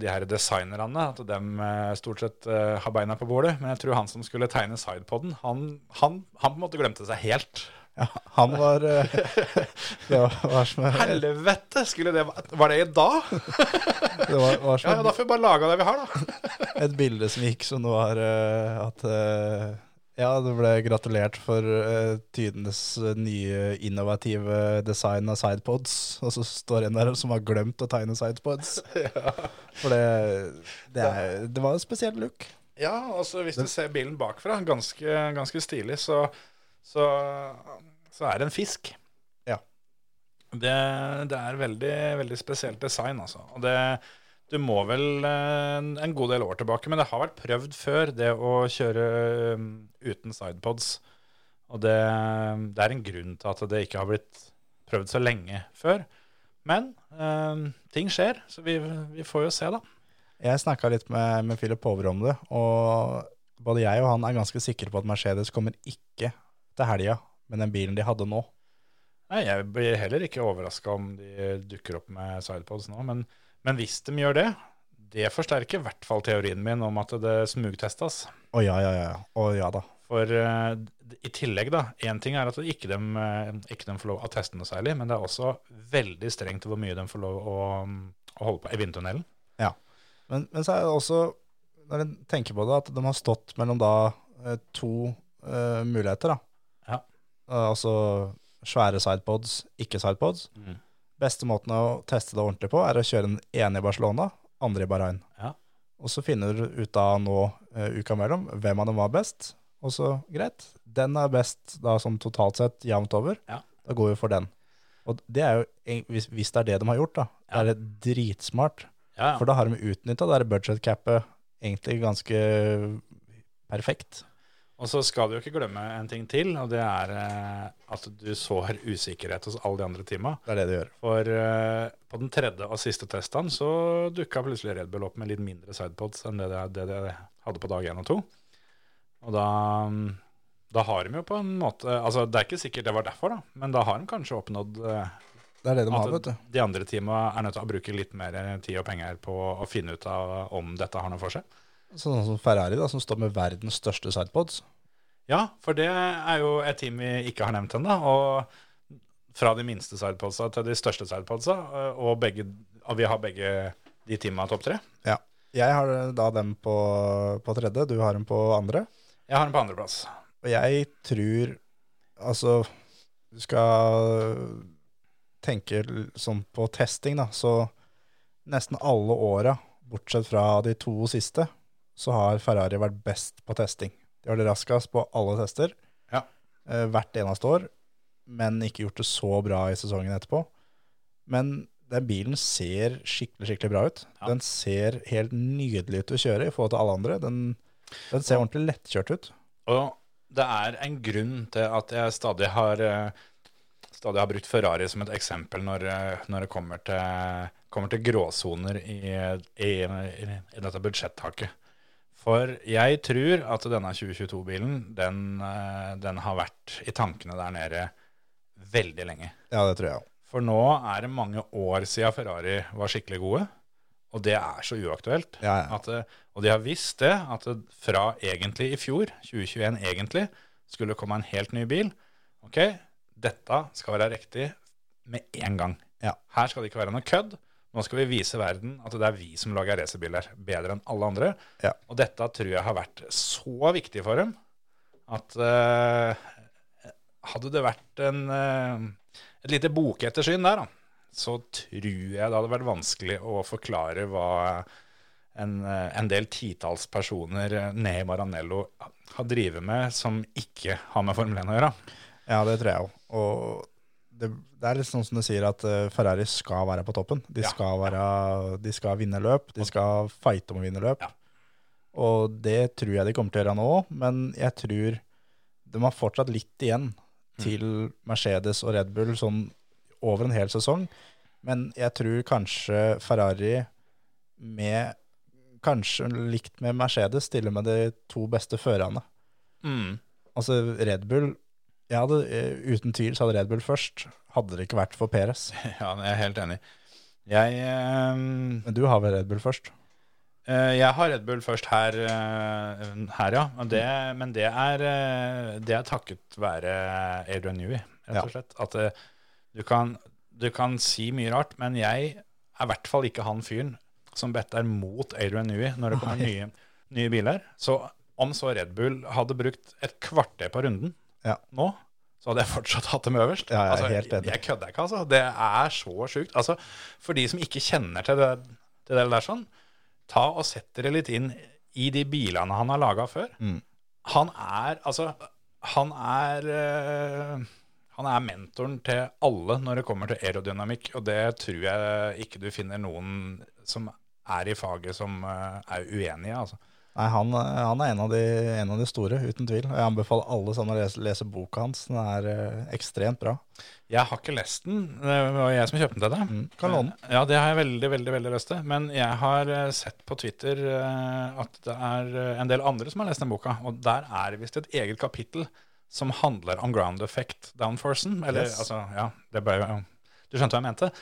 de her designerne, at de stort sett eh, har beina på bordet. Men jeg tror han som skulle tegne sidepoden, han, han, han på en måte glemte seg helt.
Ja, han var eh, Det var, var som Det
Helvete! Skulle det, var det i dag?
var, var som
Ja, ja, da får vi bare lage det vi har, da.
et bilde som gikk som det var eh, at eh, Ja, det ble gratulert for uh, tidenes eh, nye innovative design av sidepods. Og så står en der som har glemt å tegne sidepods. For det, det, er, det var en spesiell look.
Ja, altså hvis du ser bilen bakfra, ganske, ganske stilig, så, så, så er det en fisk.
Ja.
Det, det er veldig, veldig spesielt design, altså. Og det, du må vel eh, en god del år tilbake, men det har vært prøvd før, det å kjøre um, uten sidepods. Og det, det er en grunn til at det ikke har blitt prøvd så lenge før. Men eh, ting skjer, så vi, vi får jo se, da.
Jeg snakka litt med, med Philip Pover om det, og både jeg og han er ganske sikre på at Mercedes kommer ikke til helga med den bilen de hadde nå.
Nei, jeg blir heller ikke overraska om de dukker opp med sidepods nå. Men, men hvis de gjør det, det forsterker i hvert fall teorien min om at det smugtestes.
Å ja, ja, ja. Å ja da.
For eh, i tillegg, da. Én ting er at ikke de, ikke dem får lov å teste noe særlig, men det er også veldig strengt hvor mye de får lov å, å holde på i vindtunnelen.
Men, men så er det også, når en tenker på det, at de har stått mellom da eh, to eh, muligheter, da.
Ja.
Eh, altså svære sidepods, ikke sidepods.
Mhm.
Beste måten å teste det ordentlig på er å kjøre den ene i Barcelona, andre i Bahrain.
Ja.
Og så finner du ut av nå eh, uka mellom hvem av dem var best, og så greit. Den er best da som totalt sett jevnt over.
Ja.
Da går vi for den. Og det er jo, eng- hvis, hvis det er det de har gjort, da,
Ja.
er det dritsmart.
Ja,
For da har de utnytta det der budget-capet egentlig ganske perfekt.
Og så skal du jo ikke glemme en ting til, og det er eh, at du sår usikkerhet hos alle de andre teama.
Det er det de gjør.
For eh, på den tredje og siste testen så dukka plutselig Red Bull opp med litt mindre sidepods enn det de, det de hadde på dag én og to. Og da, mm, da har de jo på en måte Altså, det er ikke sikkert det var derfor, da, men da har de kanskje oppnådd eh,
Det er det de har,
at
vet du.
de andre teama er nødt til å bruke litt mer tid og penger på å finne ut av om dette har noe for seg.
Sånn som Ferrari, da, som står med verdens største sidepods.
Ja, for det er jo et team vi ikke har nevnt ennå. Og fra de minste sidepodsa til de største sidepodsa, eh, og, begge, og vi har begge de teama topp tre.
Ja. Jeg har da dem på, på tredje, du har dem på andre.
Jeg har den på andreplass.
Og jeg tror Altså, du skal tenke l- sånn på testing, da. Så nesten alle åra, bortsett fra de to siste, så har Ferrari vært best på testing. De har vært raskest på alle tester
Ja.
eh, hvert eneste år, men ikke gjort det så bra i sesongen etterpå. Men den bilen ser skikkelig, skikkelig bra ut.
Ja.
Den ser helt nydelig ut å kjøre i forhold til alle andre. Den, den ser ordentlig lettkjørt ut.
Og det er en grunn til at jeg stadig har, eh, stadig har brukt Ferrari som et eksempel når, eh, når det kommer til, kommer til gråsoner i, i, i dette budsjettaket. For jeg tror at denne 2022-bilen, den, eh, den har vært i tankene der nede veldig lenge.
Ja, det tror jeg òg.
For nå er det mange år siden Ferrari var skikkelig gode, og det er så uaktuelt.
Ja, ja.
At, eh, og de har visst det, at det fra egentlig i fjor, 2021 egentlig, skulle komme en helt ny bil. Ok, dette skal være riktig med en gang.
Ja.
Her skal det ikke være noe kødd. Nå skal vi vise verden at det er vi som lager racerbiler, bedre enn alle andre.
Ja.
Og dette tror jeg har vært så viktig for dem, at eh, hadde det vært en, eh, et lite bokettersyn der, da, så tror jeg det hadde vært vanskelig å forklare hva en, eh, en del titalls personer eh, nede i Maranello har drevet med, som ikke har med Formel 1 å gjøre.
Ja, det tror jeg òg. Og det, det er litt sånn som du sier, at eh, Ferrari skal være på toppen. De
Ja,
skal, være, de skal vinne løp, de skal fighte om å vinne løp.
Ja.
Og det tror jeg de kommer til å gjøre nå òg, men jeg tror de har fortsatt litt igjen
Mm.
til Mercedes og Red Bull sånn over en hel sesong. Men jeg tror kanskje Ferrari med Kanskje likt med Mercedes stiller med de to beste førerne.
Mm.
Altså, Red Bull jeg hadde, eh, Uten tvil så hadde Red Bull først. Hadde det ikke vært for Peres.
Ja, jeg er helt enig. Jeg, eh,
Men du har vel Red Bull først?
Eh, Jeg har Red Bull først her, eh, her ja. Og Det, men det er, eh, det er takket være Adrian Newey, rett
Ja.
og slett. At eh, du kan, du kan si mye rart, men jeg er i hvert fall ikke han fyren som better mot Adrian Newey når det kommer
Nei.
nye, nye biler. Så om så Red Bull hadde brukt et kvarter på runden
Ja.
nå, så hadde jeg fortsatt hatt dem øverst.
Ja, jeg er
altså,
helt enig.
Jeg kødder ikke, altså. Det er så sjukt. Altså, for de som ikke kjenner til det, til det der sånn, ta og sett dere litt inn i de bilene han har laga før.
Mm.
Han er altså Han er eh, Han er mentoren til alle når det kommer til aerodynamikk, og det tror jeg ikke du finner noen som er i faget som eh, er uenig i, altså.
Nei, han, eh, han er en av, de, en av de store, uten tvil. Og jeg anbefaler alle sammen å lese, lese boka hans. Den er eh, ekstremt bra.
Jeg har ikke lest den. Det var jeg som kjøpte den til deg.
Mm, kan låne den.
Ja, det har jeg veldig, veldig veldig lyst til. Men jeg har eh, sett på Twitter eh, at det er eh, en del andre som har lest den boka. Og der er det visst et eget kapittel som handler om ground effect downforcen. Eller
Yes. Mm.
altså, ja, det ble jo Du skjønte hva jeg mente.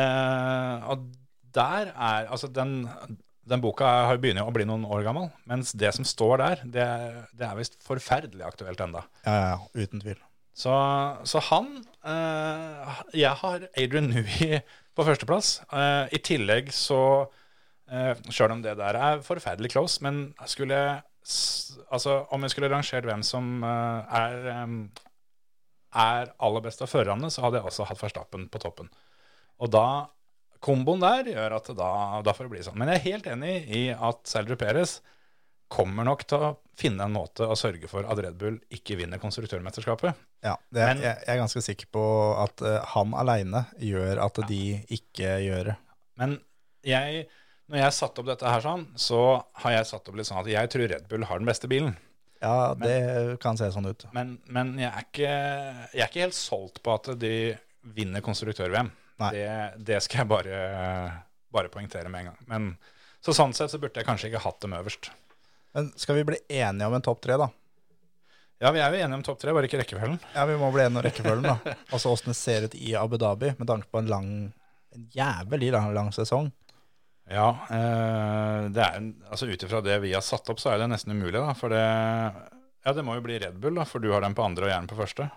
Eh, og der er Altså, den, den boka har jo begynner jo å bli noen år gammel. Mens det som står der, det, det er visst forferdelig aktuelt enda.
Ja, ja, ja, uten tvil.
Så, så han eh, Jeg har Adrian Newey på førsteplass. Eh, I tillegg så uh, Sjøl om det der er forferdelig close, men skulle jeg s- Altså, om jeg skulle rangert hvem som eh, er em, er aller best av førerne, så hadde jeg også hatt Verstappen på toppen. Og da Komboen der gjør at da, da får det bli sånn. Men jeg er helt enig i at Sergio Perez kommer nok til å finne en måte å sørge for at Red Bull ikke vinner konstruktørmesterskapet.
Ja, det, er-
Men-
jeg, jeg er ganske sikker på at eh, han aleine gjør at de ikke gjør det.
Men jeg, når jeg satte opp dette her sånn, så har jeg satt opp litt sånn at jeg tror Red Bull har den beste bilen.
Ja, det kan se sånn ut.
Men, men jeg, er ikke, jeg er ikke helt solgt på at de vinner konstruktør-VM.
Nei.
Det, det skal jeg bare, bare poengtere med en gang. Men, så sånn sett så burde jeg kanskje ikke hatt dem øverst.
Men skal vi bli enige om en topp tre, da?
Ja, vi er jo enige om topp tre, bare ikke rekkefølgen.
Ja, vi må bli enige om rekkefølgen, da. Altså åssen det ser ut i Abu Dhabi, med tanke på en lang en jævlig lang, lang sesong.
Ja, eh, det er en, altså ut ifra det vi har satt opp, så er det nesten umulig, da. For det Ja, det må jo bli Red Bull, da, for du har den på andre og jeg har den på første.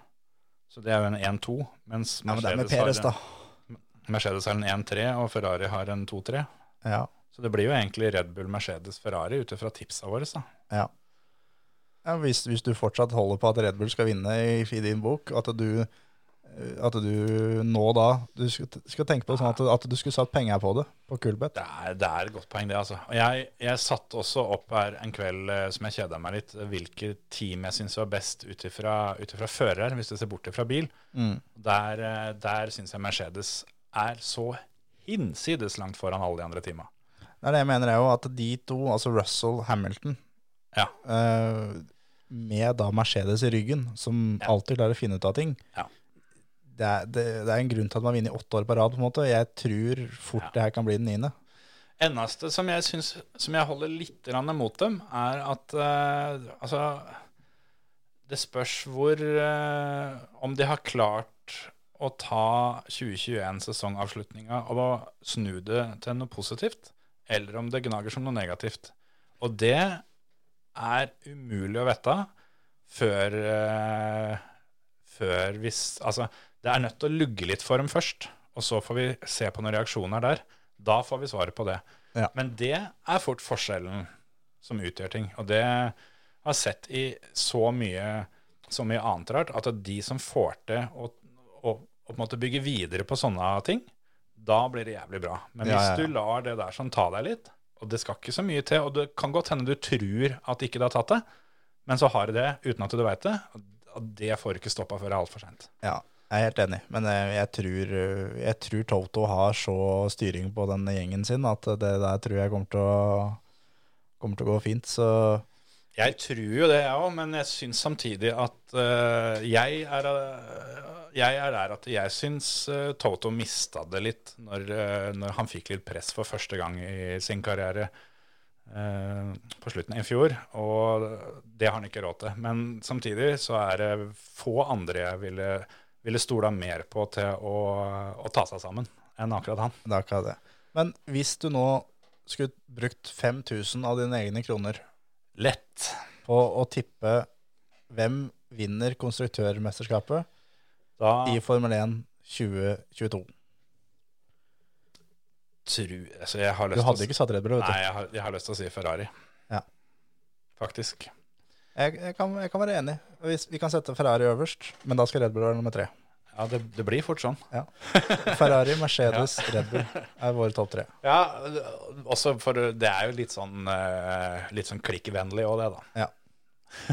Så det er jo en 1-2, mens
Ja, men det er med
Mercedes,
Peres,
har,
da.
en, Mercedes har en 1-3 og Ferrari har en 2-3.
Ja.
Så det blir jo egentlig Red Bull, Mercedes, Ferrari ut ifra tipsa våre. Da.
Ja. ja hvis, hvis du fortsatt holder på at Red Bull skal vinne i, i din bok, at du, eh, at du nå da Du skal, skal tenke på det sånn at, at du skulle satt penger på det, på Kulbeth.
Det, er, det er et godt poeng, det. altså. Og Jeg, jeg satte også opp her en kveld eh, som jeg kjeda meg litt, hvilke team jeg syns var best ut ifra ut ifra fører, hvis du ser bort ifra bil. Der, eh, der syns jeg Mercedes er så hinsides langt foran alle de andre teama.
Det er det jeg mener er jo at de to, altså Russell Hamilton
Ja.
eh, Med da Mercedes i ryggen, som
Ja.
alltid klarer å finne ut av ting
Ja.
det, er, det, det er en grunn til at man vinner åtte år på rad, på en måte. Jeg tror fort
Ja.
det her kan bli den niende.
eneste som jeg syns Som jeg holder litt grann mot dem, er at eh, Altså Det spørs hvor eh, Om de har klart å ta 2021-sesongavslutninga og snu det til noe positivt, eller om det gnager som noe negativt. Og det er umulig å vite før eh, Før hvis Altså, det er nødt til å lugge litt for dem først, og så får vi se på noen reaksjoner der. Da får vi svaret på det.
Ja.
Men det er fort forskjellen som utgjør ting. Og det har jeg sett i så mye, så mye annet rart, at de som får til å, å, å på en måte bygge videre på sånne ting, da blir det jævlig bra. Men
Ja,
hvis
ja, ja.
du lar det der som ta deg litt, og det skal ikke så mye til, og det kan godt hende du tror at ikke det har tatt det, men så har det det uten at du veit det, og det får du ikke stoppa før det er altfor seint.
Ja, jeg er helt enig, men eh, jeg tror, eh, jeg tror Toto har så styring på den gjengen sin at det der tror jeg kommer til å, kommer til å gå fint. Så
Jeg tror jo det, jeg òg, men jeg syns samtidig at eh, jeg, er, eh, jeg er der at jeg syns eh, Toto mista det litt når, eh, når han fikk litt press for første gang i sin karriere eh, på slutten i fjor. Og det har han ikke råd til. Men samtidig så er det få andre jeg ville, ville stola mer på til å, å ta seg sammen enn akkurat han.
det er akkurat det. Men hvis du nå skulle brukt 5000 av dine egne kroner
Lett.
på å tippe hvem vinner konstruktørmesterskapet
Da
i Formel 1 2022
tror altså jeg har lyst
Du
til å
hadde ikke satt Red Bull, vet
Nei,
du.
jeg har, jeg har lyst til å si Ferrari.
Ja.
Faktisk.
Jeg, jeg, kan, jeg kan være enig. Hvis, vi kan sette Ferrari øverst, men da skal Red Bull være nummer tre.
Ja, det, det blir fort sånn.
Ferrari, Mercedes, Red Bull er våre topp tre.
Ja, også for det er jo litt sånn, eh, litt sånn klikkvennlig òg, det, da.
Ja.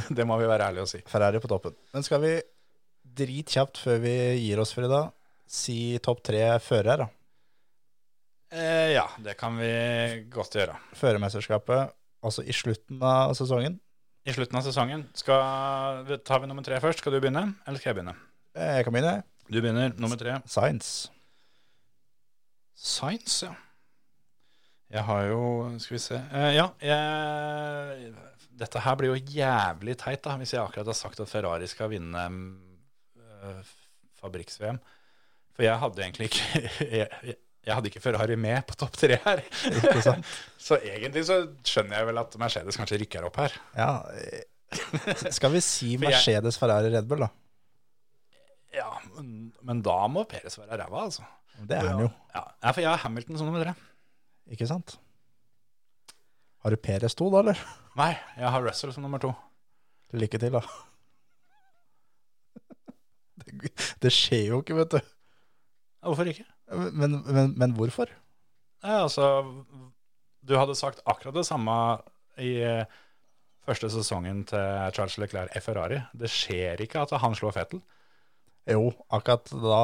Det må vi være ærlige og si.
Ferrari på toppen. Men skal vi dritkjapt før vi gir oss for i dag, si topp tre førere? da.
Eh, ja, det kan vi godt gjøre.
Førermesterskapet altså i slutten av sesongen.
I slutten av sesongen skal, tar vi nummer tre først. Skal du begynne, eller skal jeg begynne?
Eh, Jeg kan begynne, jeg.
Du begynner nummer tre.
Science.
Science, ja. Jeg har jo Skal vi se. Eh, ja, jeg, dette her blir jo jævlig teit, da, hvis jeg akkurat har sagt at Ferrari skal vinne eh, fabrikks-VM. For jeg hadde egentlig ikke jeg, jeg, jeg hadde ikke Ferrari med på topp tre her. så egentlig så skjønner jeg vel at Mercedes kanskje rykker opp her.
Ja, eh, skal vi si
For jeg-
Mercedes, Ferrari, Red Bull, da?
Ja, Men, men da må Peres være ræva, altså.
Det er den jo,
Ja, ja, for jeg har Hamilton som nummer tre.
ikke sant? Har du Peres 2, da, eller?
Nei, jeg har Russell som nummer to.
Lykke til, da. Det, det skjer jo ikke, vet du.
Ja, Hvorfor ikke?
Men, men, men hvorfor?
Nei, altså Du hadde sagt akkurat det samme i eh, første sesongen til Charles Leclerc i Ferrari. Det skjer ikke at han slår Fettel.
Jo, akkurat da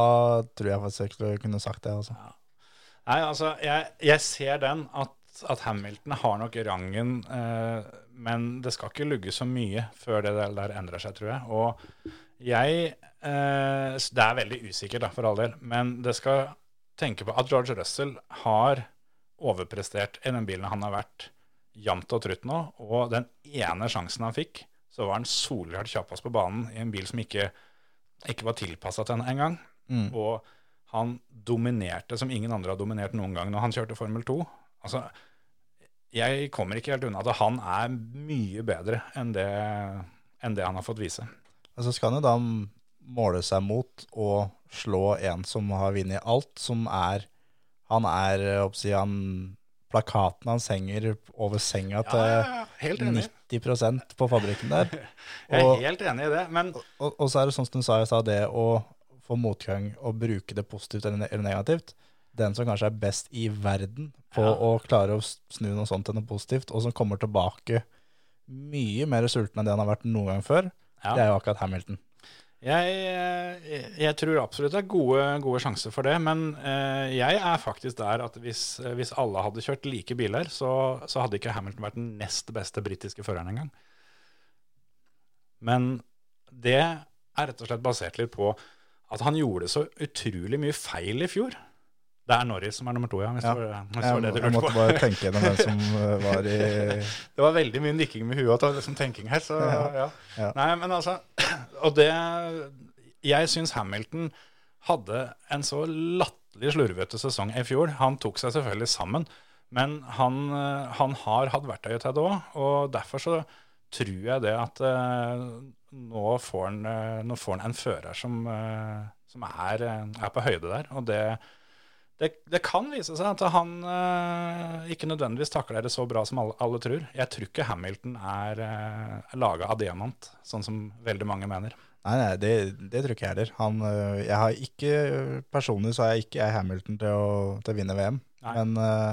tror jeg faktisk jeg skulle kunne sagt det. Altså.
Nei, altså, jeg, jeg ser den at, at Hamilton har nok rangen, eh, men det skal ikke lugge så mye før det der, der endrer seg, tror jeg. Og jeg eh, s- Det er veldig usikkert, da, for all del, men det skal tenke på at George Russell har overprestert i den bilen han har vært jevnt og trutt nå, og den ene sjansen han fikk, så var han solhardt kjappest på banen i en bil som ikke, ikke var tilpassa til henne engang. Og han dominerte som ingen andre har dominert noen gang når han kjørte Formel 2. Altså, jeg kommer ikke helt unna at han er mye bedre enn det, enn det han har fått vise.
Og så Altså, skal han jo da måle seg mot å slå en som har vunnet alt, som er Han er, eh, jeg håper å si, han Plakaten hans henger over senga
ja, helt
til
enig.
90 på fabrikken der.
Jeg
Og-
er helt enig i det. Men
Og, og så er det sånn som du sa i stad, det å få motgang og bruke det positivt eller ne- eller negativt. Den som kanskje er best i verden på
Ja.
å klare å s- snu noe sånt til noe positivt, og som kommer tilbake mye mer sulten enn det han har vært noen gang før,
Ja.
det er jo akkurat Hamilton.
Jeg, eh, jeg tror absolutt det er gode, gode sjanser for det, men eh, jeg er faktisk der at hvis, eh, hvis alle hadde kjørt like biler, så, så hadde ikke Hamilton vært den nest beste britiske føreren engang. Men det er rett og slett basert litt på at han gjorde så utrolig mye feil i fjor. Det er Norris som er nummer to, ja. Hvis
Ja.
det var, hvis det,
Jeg,
var det, du
jeg
lurte
måtte
på.
bare tenke gjennom hvem som eh, var i
det var veldig mye nikking med huet og liksom tenking her, så ja.
Ja. Ja.
Nei, men altså Og det Jeg syns Hamilton hadde en så latterlig slurvete sesong i fjor. Han tok seg selvfølgelig sammen, men han, eh, han har hatt verktøyet til det òg. Og derfor så tror jeg det at eh, nå får han, eh, nå får han en fører som, eh, som er, eh, er på høyde der. Og det, det, det kan vise seg at han eh, ikke nødvendigvis takler det så bra som alle, alle tror. Jeg tror ikke Hamilton er uh, laga av diamant, sånn som veldig mange mener.
Nei, nei, det, det tror ikke jeg heller. Han, øh, jeg har ikke, personlig så har jeg ikke jeg Hamilton til å, til å vinne VM.
Nei.
Men øh,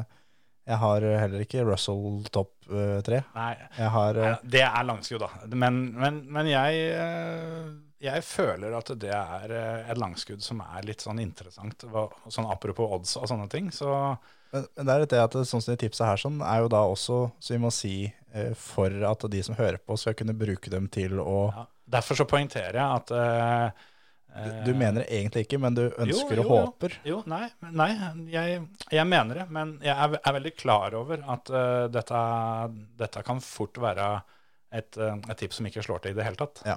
jeg har heller ikke Russell topp øh, tre.
Nei,
Jeg har øh,
eh, det er langskudd, da. Men, men, men jeg, eh, jeg føler at det er eh, et langskudd som er litt sånn interessant. Hva, sånn apropos odds og sånne ting. Så
men, men det er litt det at det- sånn som de tipsa her sånn, er jo da også, så vi må si, øh, for at de som hører på skal kunne bruke dem til å
ja. derfor så poengterer jeg at eh,
Du mener det egentlig ikke, men du ønsker og håper.
Jo, nei, men- nei jeg, jeg mener det. Men jeg er, er veldig klar over at eh, dette, dette kan fort være et, eh, et tips som ikke slår til i det hele tatt.
Ja.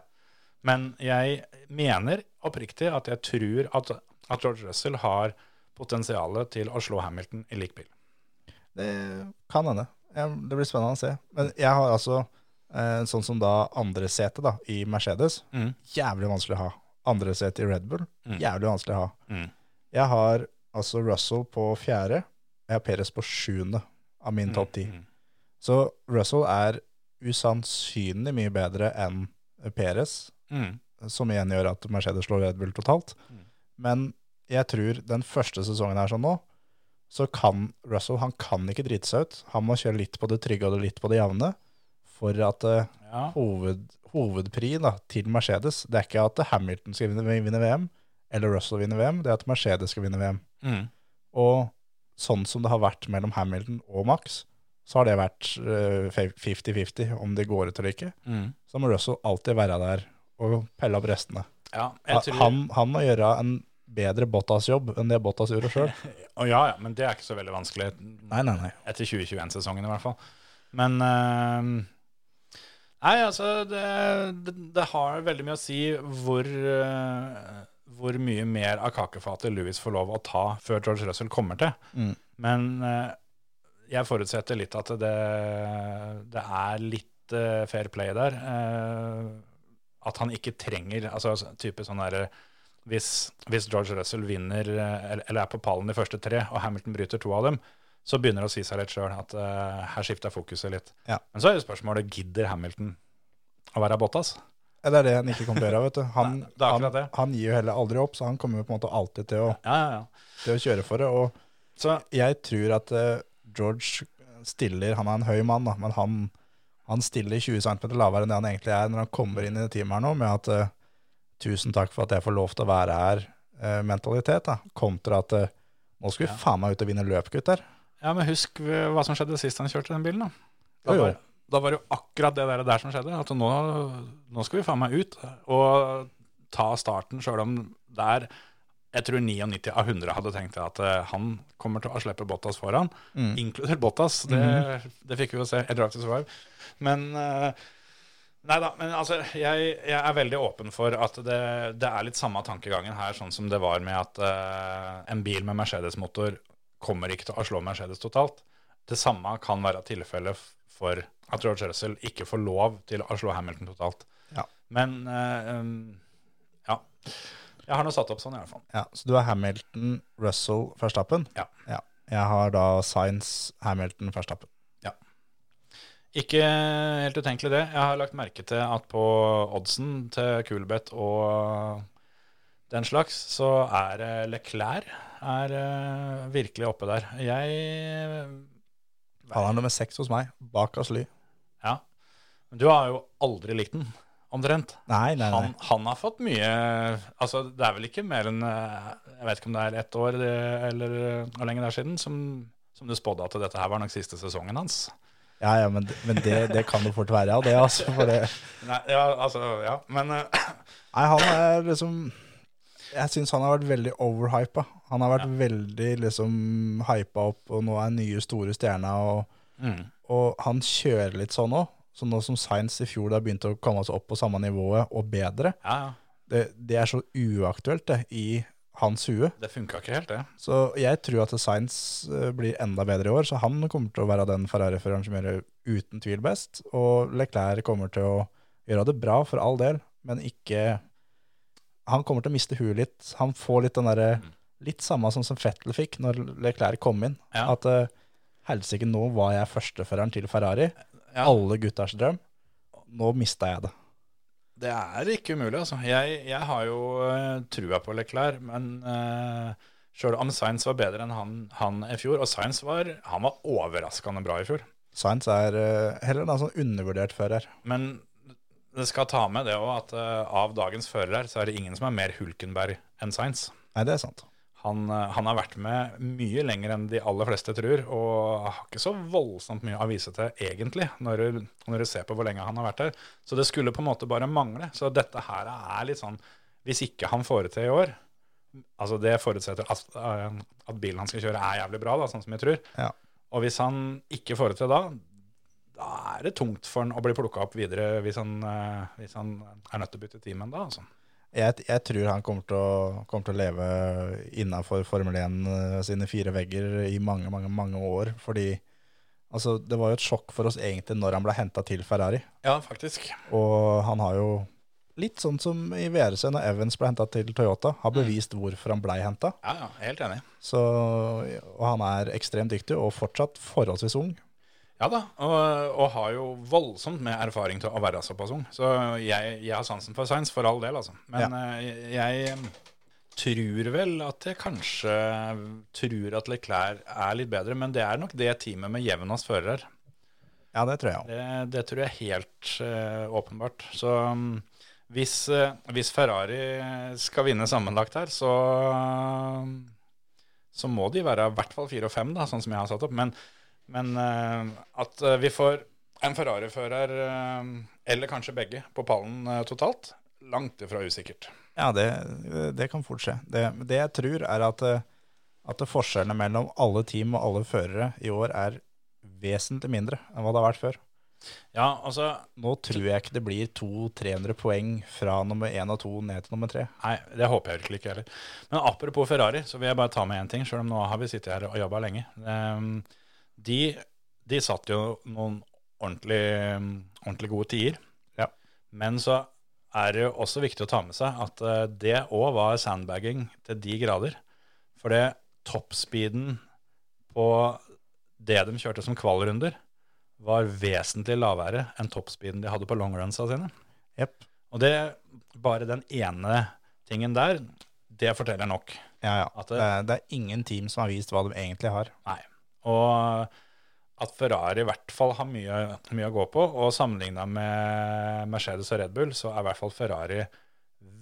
Men jeg mener oppriktig at jeg tror at, at George Russell har potensialet til å slå Hamilton i lik bil.
Det kan hende. Ja, Det blir spennende å se. Men jeg har altså, eh, sånn som da andre sete da, i Mercedes,
Mm.
jævlig vanskelig å ha. Andre sete i Red Bull, jævlig vanskelig å ha.
Mm.
Jeg har altså Russell på fjerde, jeg har Perez på sjuende av
Mm,
min topp ti. Så Russell er usannsynlig mye bedre enn Perez,
Mm.
som igjen gjør at Mercedes slår Red Bull totalt. Men jeg tror den første sesongen her sånn nå, så kan Russell han kan ikke drite seg ut. Han må kjøre litt på det trygge og litt på det jevne for at eh,
Ja.
hoved, hovedpri da, til Mercedes Det er ikke at Hamilton skal vinne, vinne VM, eller Russell vinner VM, det er at Mercedes skal vinne VM.
Mm.
Og sånn som det har vært mellom Hamilton og Max, så har det vært eh, 50-50 om de går ut eller ikke.
Mm.
Så må Russell alltid være der og pelle opp restene.
Ja, jeg tror,
Han, han må gjøre en bedre Bottas-jobb enn det Bottas gjorde sjøl.
Å, ja, ja, men det er ikke så veldig vanskelig.
Nei, nei, nei.
etter 2021-sesongen i hvert fall. Men eh, Nei, altså det, det, det har veldig mye å si hvor, eh, hvor mye mer av kakefatet Louis får lov å ta før George Russell kommer til.
Mm.
Men eh, jeg forutsetter litt at det, det er litt eh, fair play der. eh, at han ikke trenger altså type sånn derre hvis, hvis George Russell vinner eh, eller eller er på pallen de første tre, og Hamilton bryter to av dem, så begynner det å si seg litt sjøl at eh, her skifter fokuset litt.
Ja.
Men så er jo spørsmålet gidder Hamilton å være Bottas.
Ja, Det er det han ikke kommer til å gjøre. vet du. Han,
Nei, det er akkurat
han,
det.
han gir jo heller aldri opp, så han kommer jo på en måte alltid til å,
Ja, ja, ja.
til å kjøre for det. Og
Så
jeg tror at eh, George stiller Han er en høy mann, da, men han, han stiller 20 cm lavere enn det han egentlig er når han kommer inn i det teamet her nå, med at eh, 'tusen takk for at jeg får lov til å være her'-mentalitet, da, kontra at eh, 'nå skal vi faen meg ut og vinne løp, gutter'.
ja, men husk hva som skjedde sist han kjørte den bilen, da. Da
Jo, jo.
var, da var det jo akkurat det der, der som skjedde. At nå, nå skal vi faen meg ut og ta starten, sjøl om der jeg tror 99 av 100 hadde tenkt at eh, han kommer til å slippe Bottas foran, inkludert Bottas. Det, det fikk vi jo se i Drive to Survive. Men eh, Nei da, men altså, jeg, jeg er veldig åpen for at det, det er litt samme tankegangen her, sånn som det var med at eh, en bil med Mercedes-motor kommer ikke til å slå Mercedes totalt. Det samme kan være tilfellet f- for at George Russell ikke får lov til å slå Hamilton totalt.
Ja.
Men eh, um, ja. Jeg har nå satt opp sånn, i hvert fall.
Ja, så du har Hamilton, Russell, Verstappen?
Ja.
Jeg har da Science, Hamilton, Verstappen.
Ikke helt utenkelig det. Jeg har lagt merke til at på oddsen til Kulbeth og den slags, så er eh, Leclerc er eh, virkelig oppe der. Jeg
Han er nummer seks hos meg, bak Asly.
Ja. Men du har jo aldri likt den, omtrent.
Nei, nei, nei.
Han, han har fått mye Altså, det er vel ikke mer enn eh, Jeg vet ikke om det er ett år det, eller eh, hvor lenge det er siden som, som du spådde at dette her var nok siste sesongen hans.
Ja, ja, men, men det, det kan det fort være, ja. Det, altså, for det.
Nei, ja, altså, ja. Men eh,
Nei, han er liksom Jeg syns han har vært veldig overhypa. Han har vært veldig liksom hypa opp, og nå er han nye store stjerna, og,
mm.
og han kjører litt sånn òg. Så nå som Science i fjor da begynte å komme seg opp på samme nivået, og bedre,
Ja, ja.
det, det er så uaktuelt det, i hans hue.
Det funka ikke helt, det.
Så jeg tror at Sainz eh, blir enda bedre i år, så han kommer til å være den Ferrari-føreren som gjør det uten tvil best. Og Leclerc kommer til å gjøre det bra, for all del, men ikke Han kommer til å miste huet litt. Han får litt den derre
Mm.
Litt samme som, som Fettel fikk når Leclerc kom inn.
Ja.
At uh, helsike, nå var jeg førsteføreren til Ferrari.
Ja.
Alle gutters drøm. Nå mista jeg det.
Det er ikke umulig, altså. Jeg, jeg har jo eh, trua på Leclerc, men uh, sjøl om Sainz var bedre enn han, han i fjor, og Sainz var, han var overraskende bra i fjor,
Sainz er eh, heller en sånn undervurdert fører.
men det skal ta med det òg at eh, av dagens førere så er det ingen som er mer Hulkenberg enn Sainz.
Nei, det er sant.
Han, eh, han har vært med mye lenger enn de aller fleste tror, og har ikke så voldsomt mye å vise til, egentlig, når du, når du ser på hvor lenge han har vært der. Så det skulle på en måte bare mangle. Så dette her er litt sånn Hvis ikke han får det til i år Altså Det forutsetter at, eh, at bilen han skal kjøre, er jævlig bra, da, sånn som jeg tror.
Ja.
Og hvis han ikke får det til da, da er det tungt for han å bli plukka opp videre hvis han, eh, hvis han er nødt til å bytte team en dag. Altså.
Jeg, jeg tror han kommer til å, kommer til å leve innafor Formel 1 eh, sine fire vegger i mange, mange mange år. Fordi altså, det var jo et sjokk for oss egentlig når han ble henta til Ferrari.
Ja, faktisk.
Og han har jo, litt sånn som i VRC når Evans ble henta til Toyota, har bevist hvorfor han blei henta.
Ja, ja, Helt enig.
Og han er ekstremt dyktig, og fortsatt forholdsvis ung.
Ja da, og, og har jo voldsomt med erfaring til å være såpass ung. Så jeg, jeg har sansen for science, for all del, altså. Men eh, jeg, jeg tror vel at jeg kanskje tror at Leclerc er litt bedre, men det er nok det teamet med jevnest fører.
Ja, det tror jeg òg.
Det, det tror jeg er helt eh, åpenbart. Så mm, hvis, eh, hvis Ferrari skal vinne sammenlagt her, så mm, så må de være i hvert fall fire og fem, da, sånn som jeg har satt opp. Men, men eh, at eh, vi får en Ferrari-fører, eh, eller kanskje begge, på pallen eh, totalt, langt ifra usikkert.
Ja, det, det kan fort skje. Det, det jeg tror er at, eh, at forskjellene mellom alle team og alle førere i år er vesentlig mindre enn hva det har vært før.
Ja, altså,
Nå tror jeg ikke det blir 200-300 poeng fra nummer 1 og 2 ned til nummer 3.
Nei, det håper jeg virkelig ikke heller. Men apropos Ferrari, så vil jeg bare ta med én ting, sjøl om nå har vi sittet her og jobba lenge. Ehm, De, de satt jo noen ordentlig, ordentlig gode tider.
Ja.
Men så er det jo også viktig å ta med seg at eh, det òg var sandbagging til de grader. For det toppspeeden på det de kjørte som kvalrunder, var vesentlig lavere enn toppspeeden de hadde på longrunsa sine.
Jepp.
Og det, bare den ene tingen der, det forteller nok.
Ja, ja.
At
det,
det-
er- det er ingen team som har vist hva de egentlig har.
Nei. Og at Ferrari i hvert fall har mye, mye å gå på, og sammenligna med Mercedes og Red Bull, så er i hvert fall Ferrari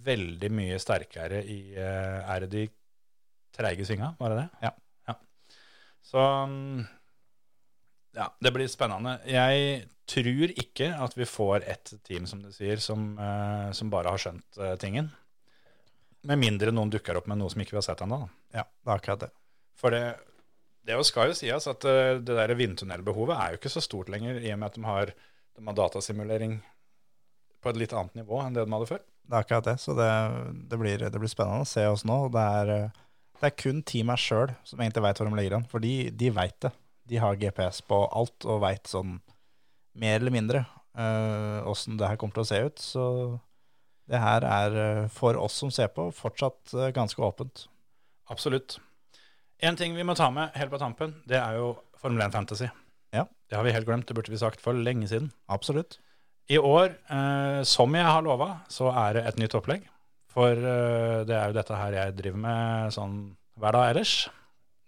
veldig mye sterkere i eh, Er det de treige svinga, var det det? Ja. Så mm, ja, det blir spennende. Jeg tror ikke at vi får ett team, som du sier, som, eh, som bare har skjønt eh, tingen. Med mindre noen dukker opp med noe som ikke vi har sett ennå. da.
Ja, det er akkurat det.
For det, det jo skal jo sies at eh, det der vindtunnelbehovet er jo ikke så stort lenger, i og med at de har, de har datasimulering på et litt annet nivå enn det de hadde før.
Det er akkurat det, så det, det, blir, det blir spennende å se oss nå. og Det er, eh, det er kun teamet sjøl som egentlig veit hvor de ligger an, for de, de veit det. De har GPS på alt eh, og veit sånn mer eller mindre åssen det her kommer til å se ut. Så Det her er eh, for oss som ser på, fortsatt eh, ganske åpent.
Absolutt. En ting vi må ta med helt på tampen, det er jo Formel 1 Fantasy.
Ja.
Det har vi helt glemt, det burde vi sagt for lenge siden.
Absolutt.
I år, eh, som jeg har lova, så er det et nytt opplegg. For eh, det er jo dette her jeg driver med sånn hver dag ellers.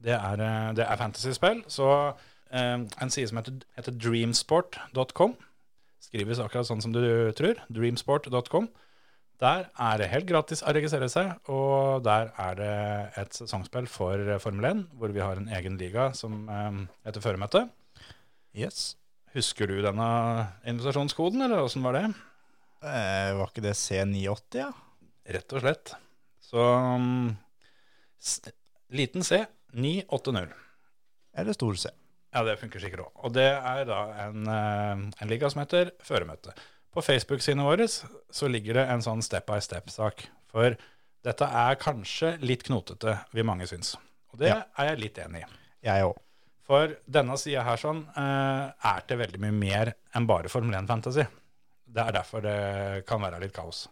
Det er, eh, det er fantasyspill. Så eh, en side som heter, heter dreamsport.com. Skrives akkurat sånn som du tror. Dreamsport.com. Der er det helt gratis å registrere seg, og der er det et sesongspill for eh, Formel 1, hvor vi har en egen liga som eh, heter Føremøte.
Yes.
Husker du denne invitasjonskoden, eller åssen var det?
Eh, var ikke det C980, ja?
Rett og slett. Så um, s liten C, 980.
Eller stor C?
Ja, det funker sikkert òg. Og det er da en, eh, en liga som heter Føremøte. På Facebook-sidene våre så ligger det en sånn step by step-sak. For dette er kanskje litt knotete, vil mange synes. Og det
Ja.
er jeg litt enig i.
Jeg òg.
For denne sida her sånn, eh, er til veldig mye mer enn bare Formel 1 Fantasy. Det er derfor det kan være litt kaos.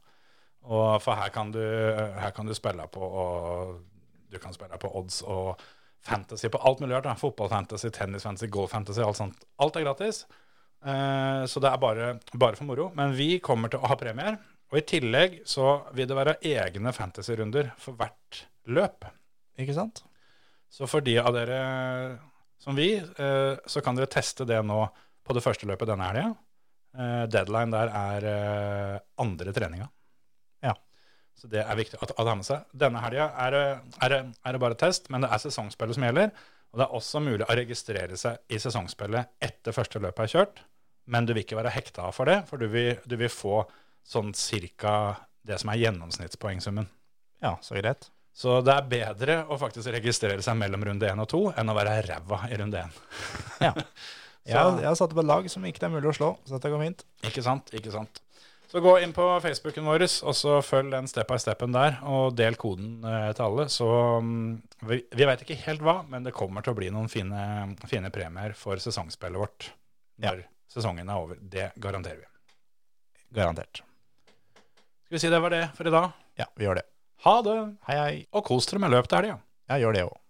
Og for her kan du, her kan du spille på og du kan spille på odds og fantasy på alt mulig rart. da. Fotball-fantasy, tennis-fantasy, golf-fantasy, alt sånt. Alt er gratis. Eh, Så det er bare, bare for moro. Men vi kommer til å ha premier. Og i tillegg så vil det være egne fantasy-runder for hvert løp.
Ikke sant?
Så for de av dere som vi, eh, så kan dere teste det nå på det første løpet denne helga. Eh, Deadline der er eh, andre treninga.
Ja.
Så det er viktig at alle har med seg. Denne helga er, det- er, det- er det bare test, men det er sesongspillet som gjelder. Og det er også mulig å registrere seg i sesongspillet etter første løpet er kjørt. Men du vil ikke være hekta for det, for du vil, du vil få sånn cirka det som er gjennomsnittspoengsummen.
Ja, så greit.
Så det er bedre å faktisk registrere seg mellom runde 1 og 2 enn å være ræva i runde 1.
Ja.
Så-
Jeg, jeg har satt opp et lag som ikke det er mulig å slå, så dette går fint.
Ikke sant? Ikke sant? Så gå inn på Facebooken vår, og så følg den step by stepen der, og del koden eh, til alle. Så mm, vi, vi veit ikke helt hva, men det kommer til å bli noen fine, fine premier for sesongspillet vårt når sesongen er over. Det garanterer vi.
Garantert.
Skal vi si det var det for i dag?
Ja, vi gjør det.
Ha det!
Hei, hei.
Og kos dere med løp til helga.
Jeg gjør det òg.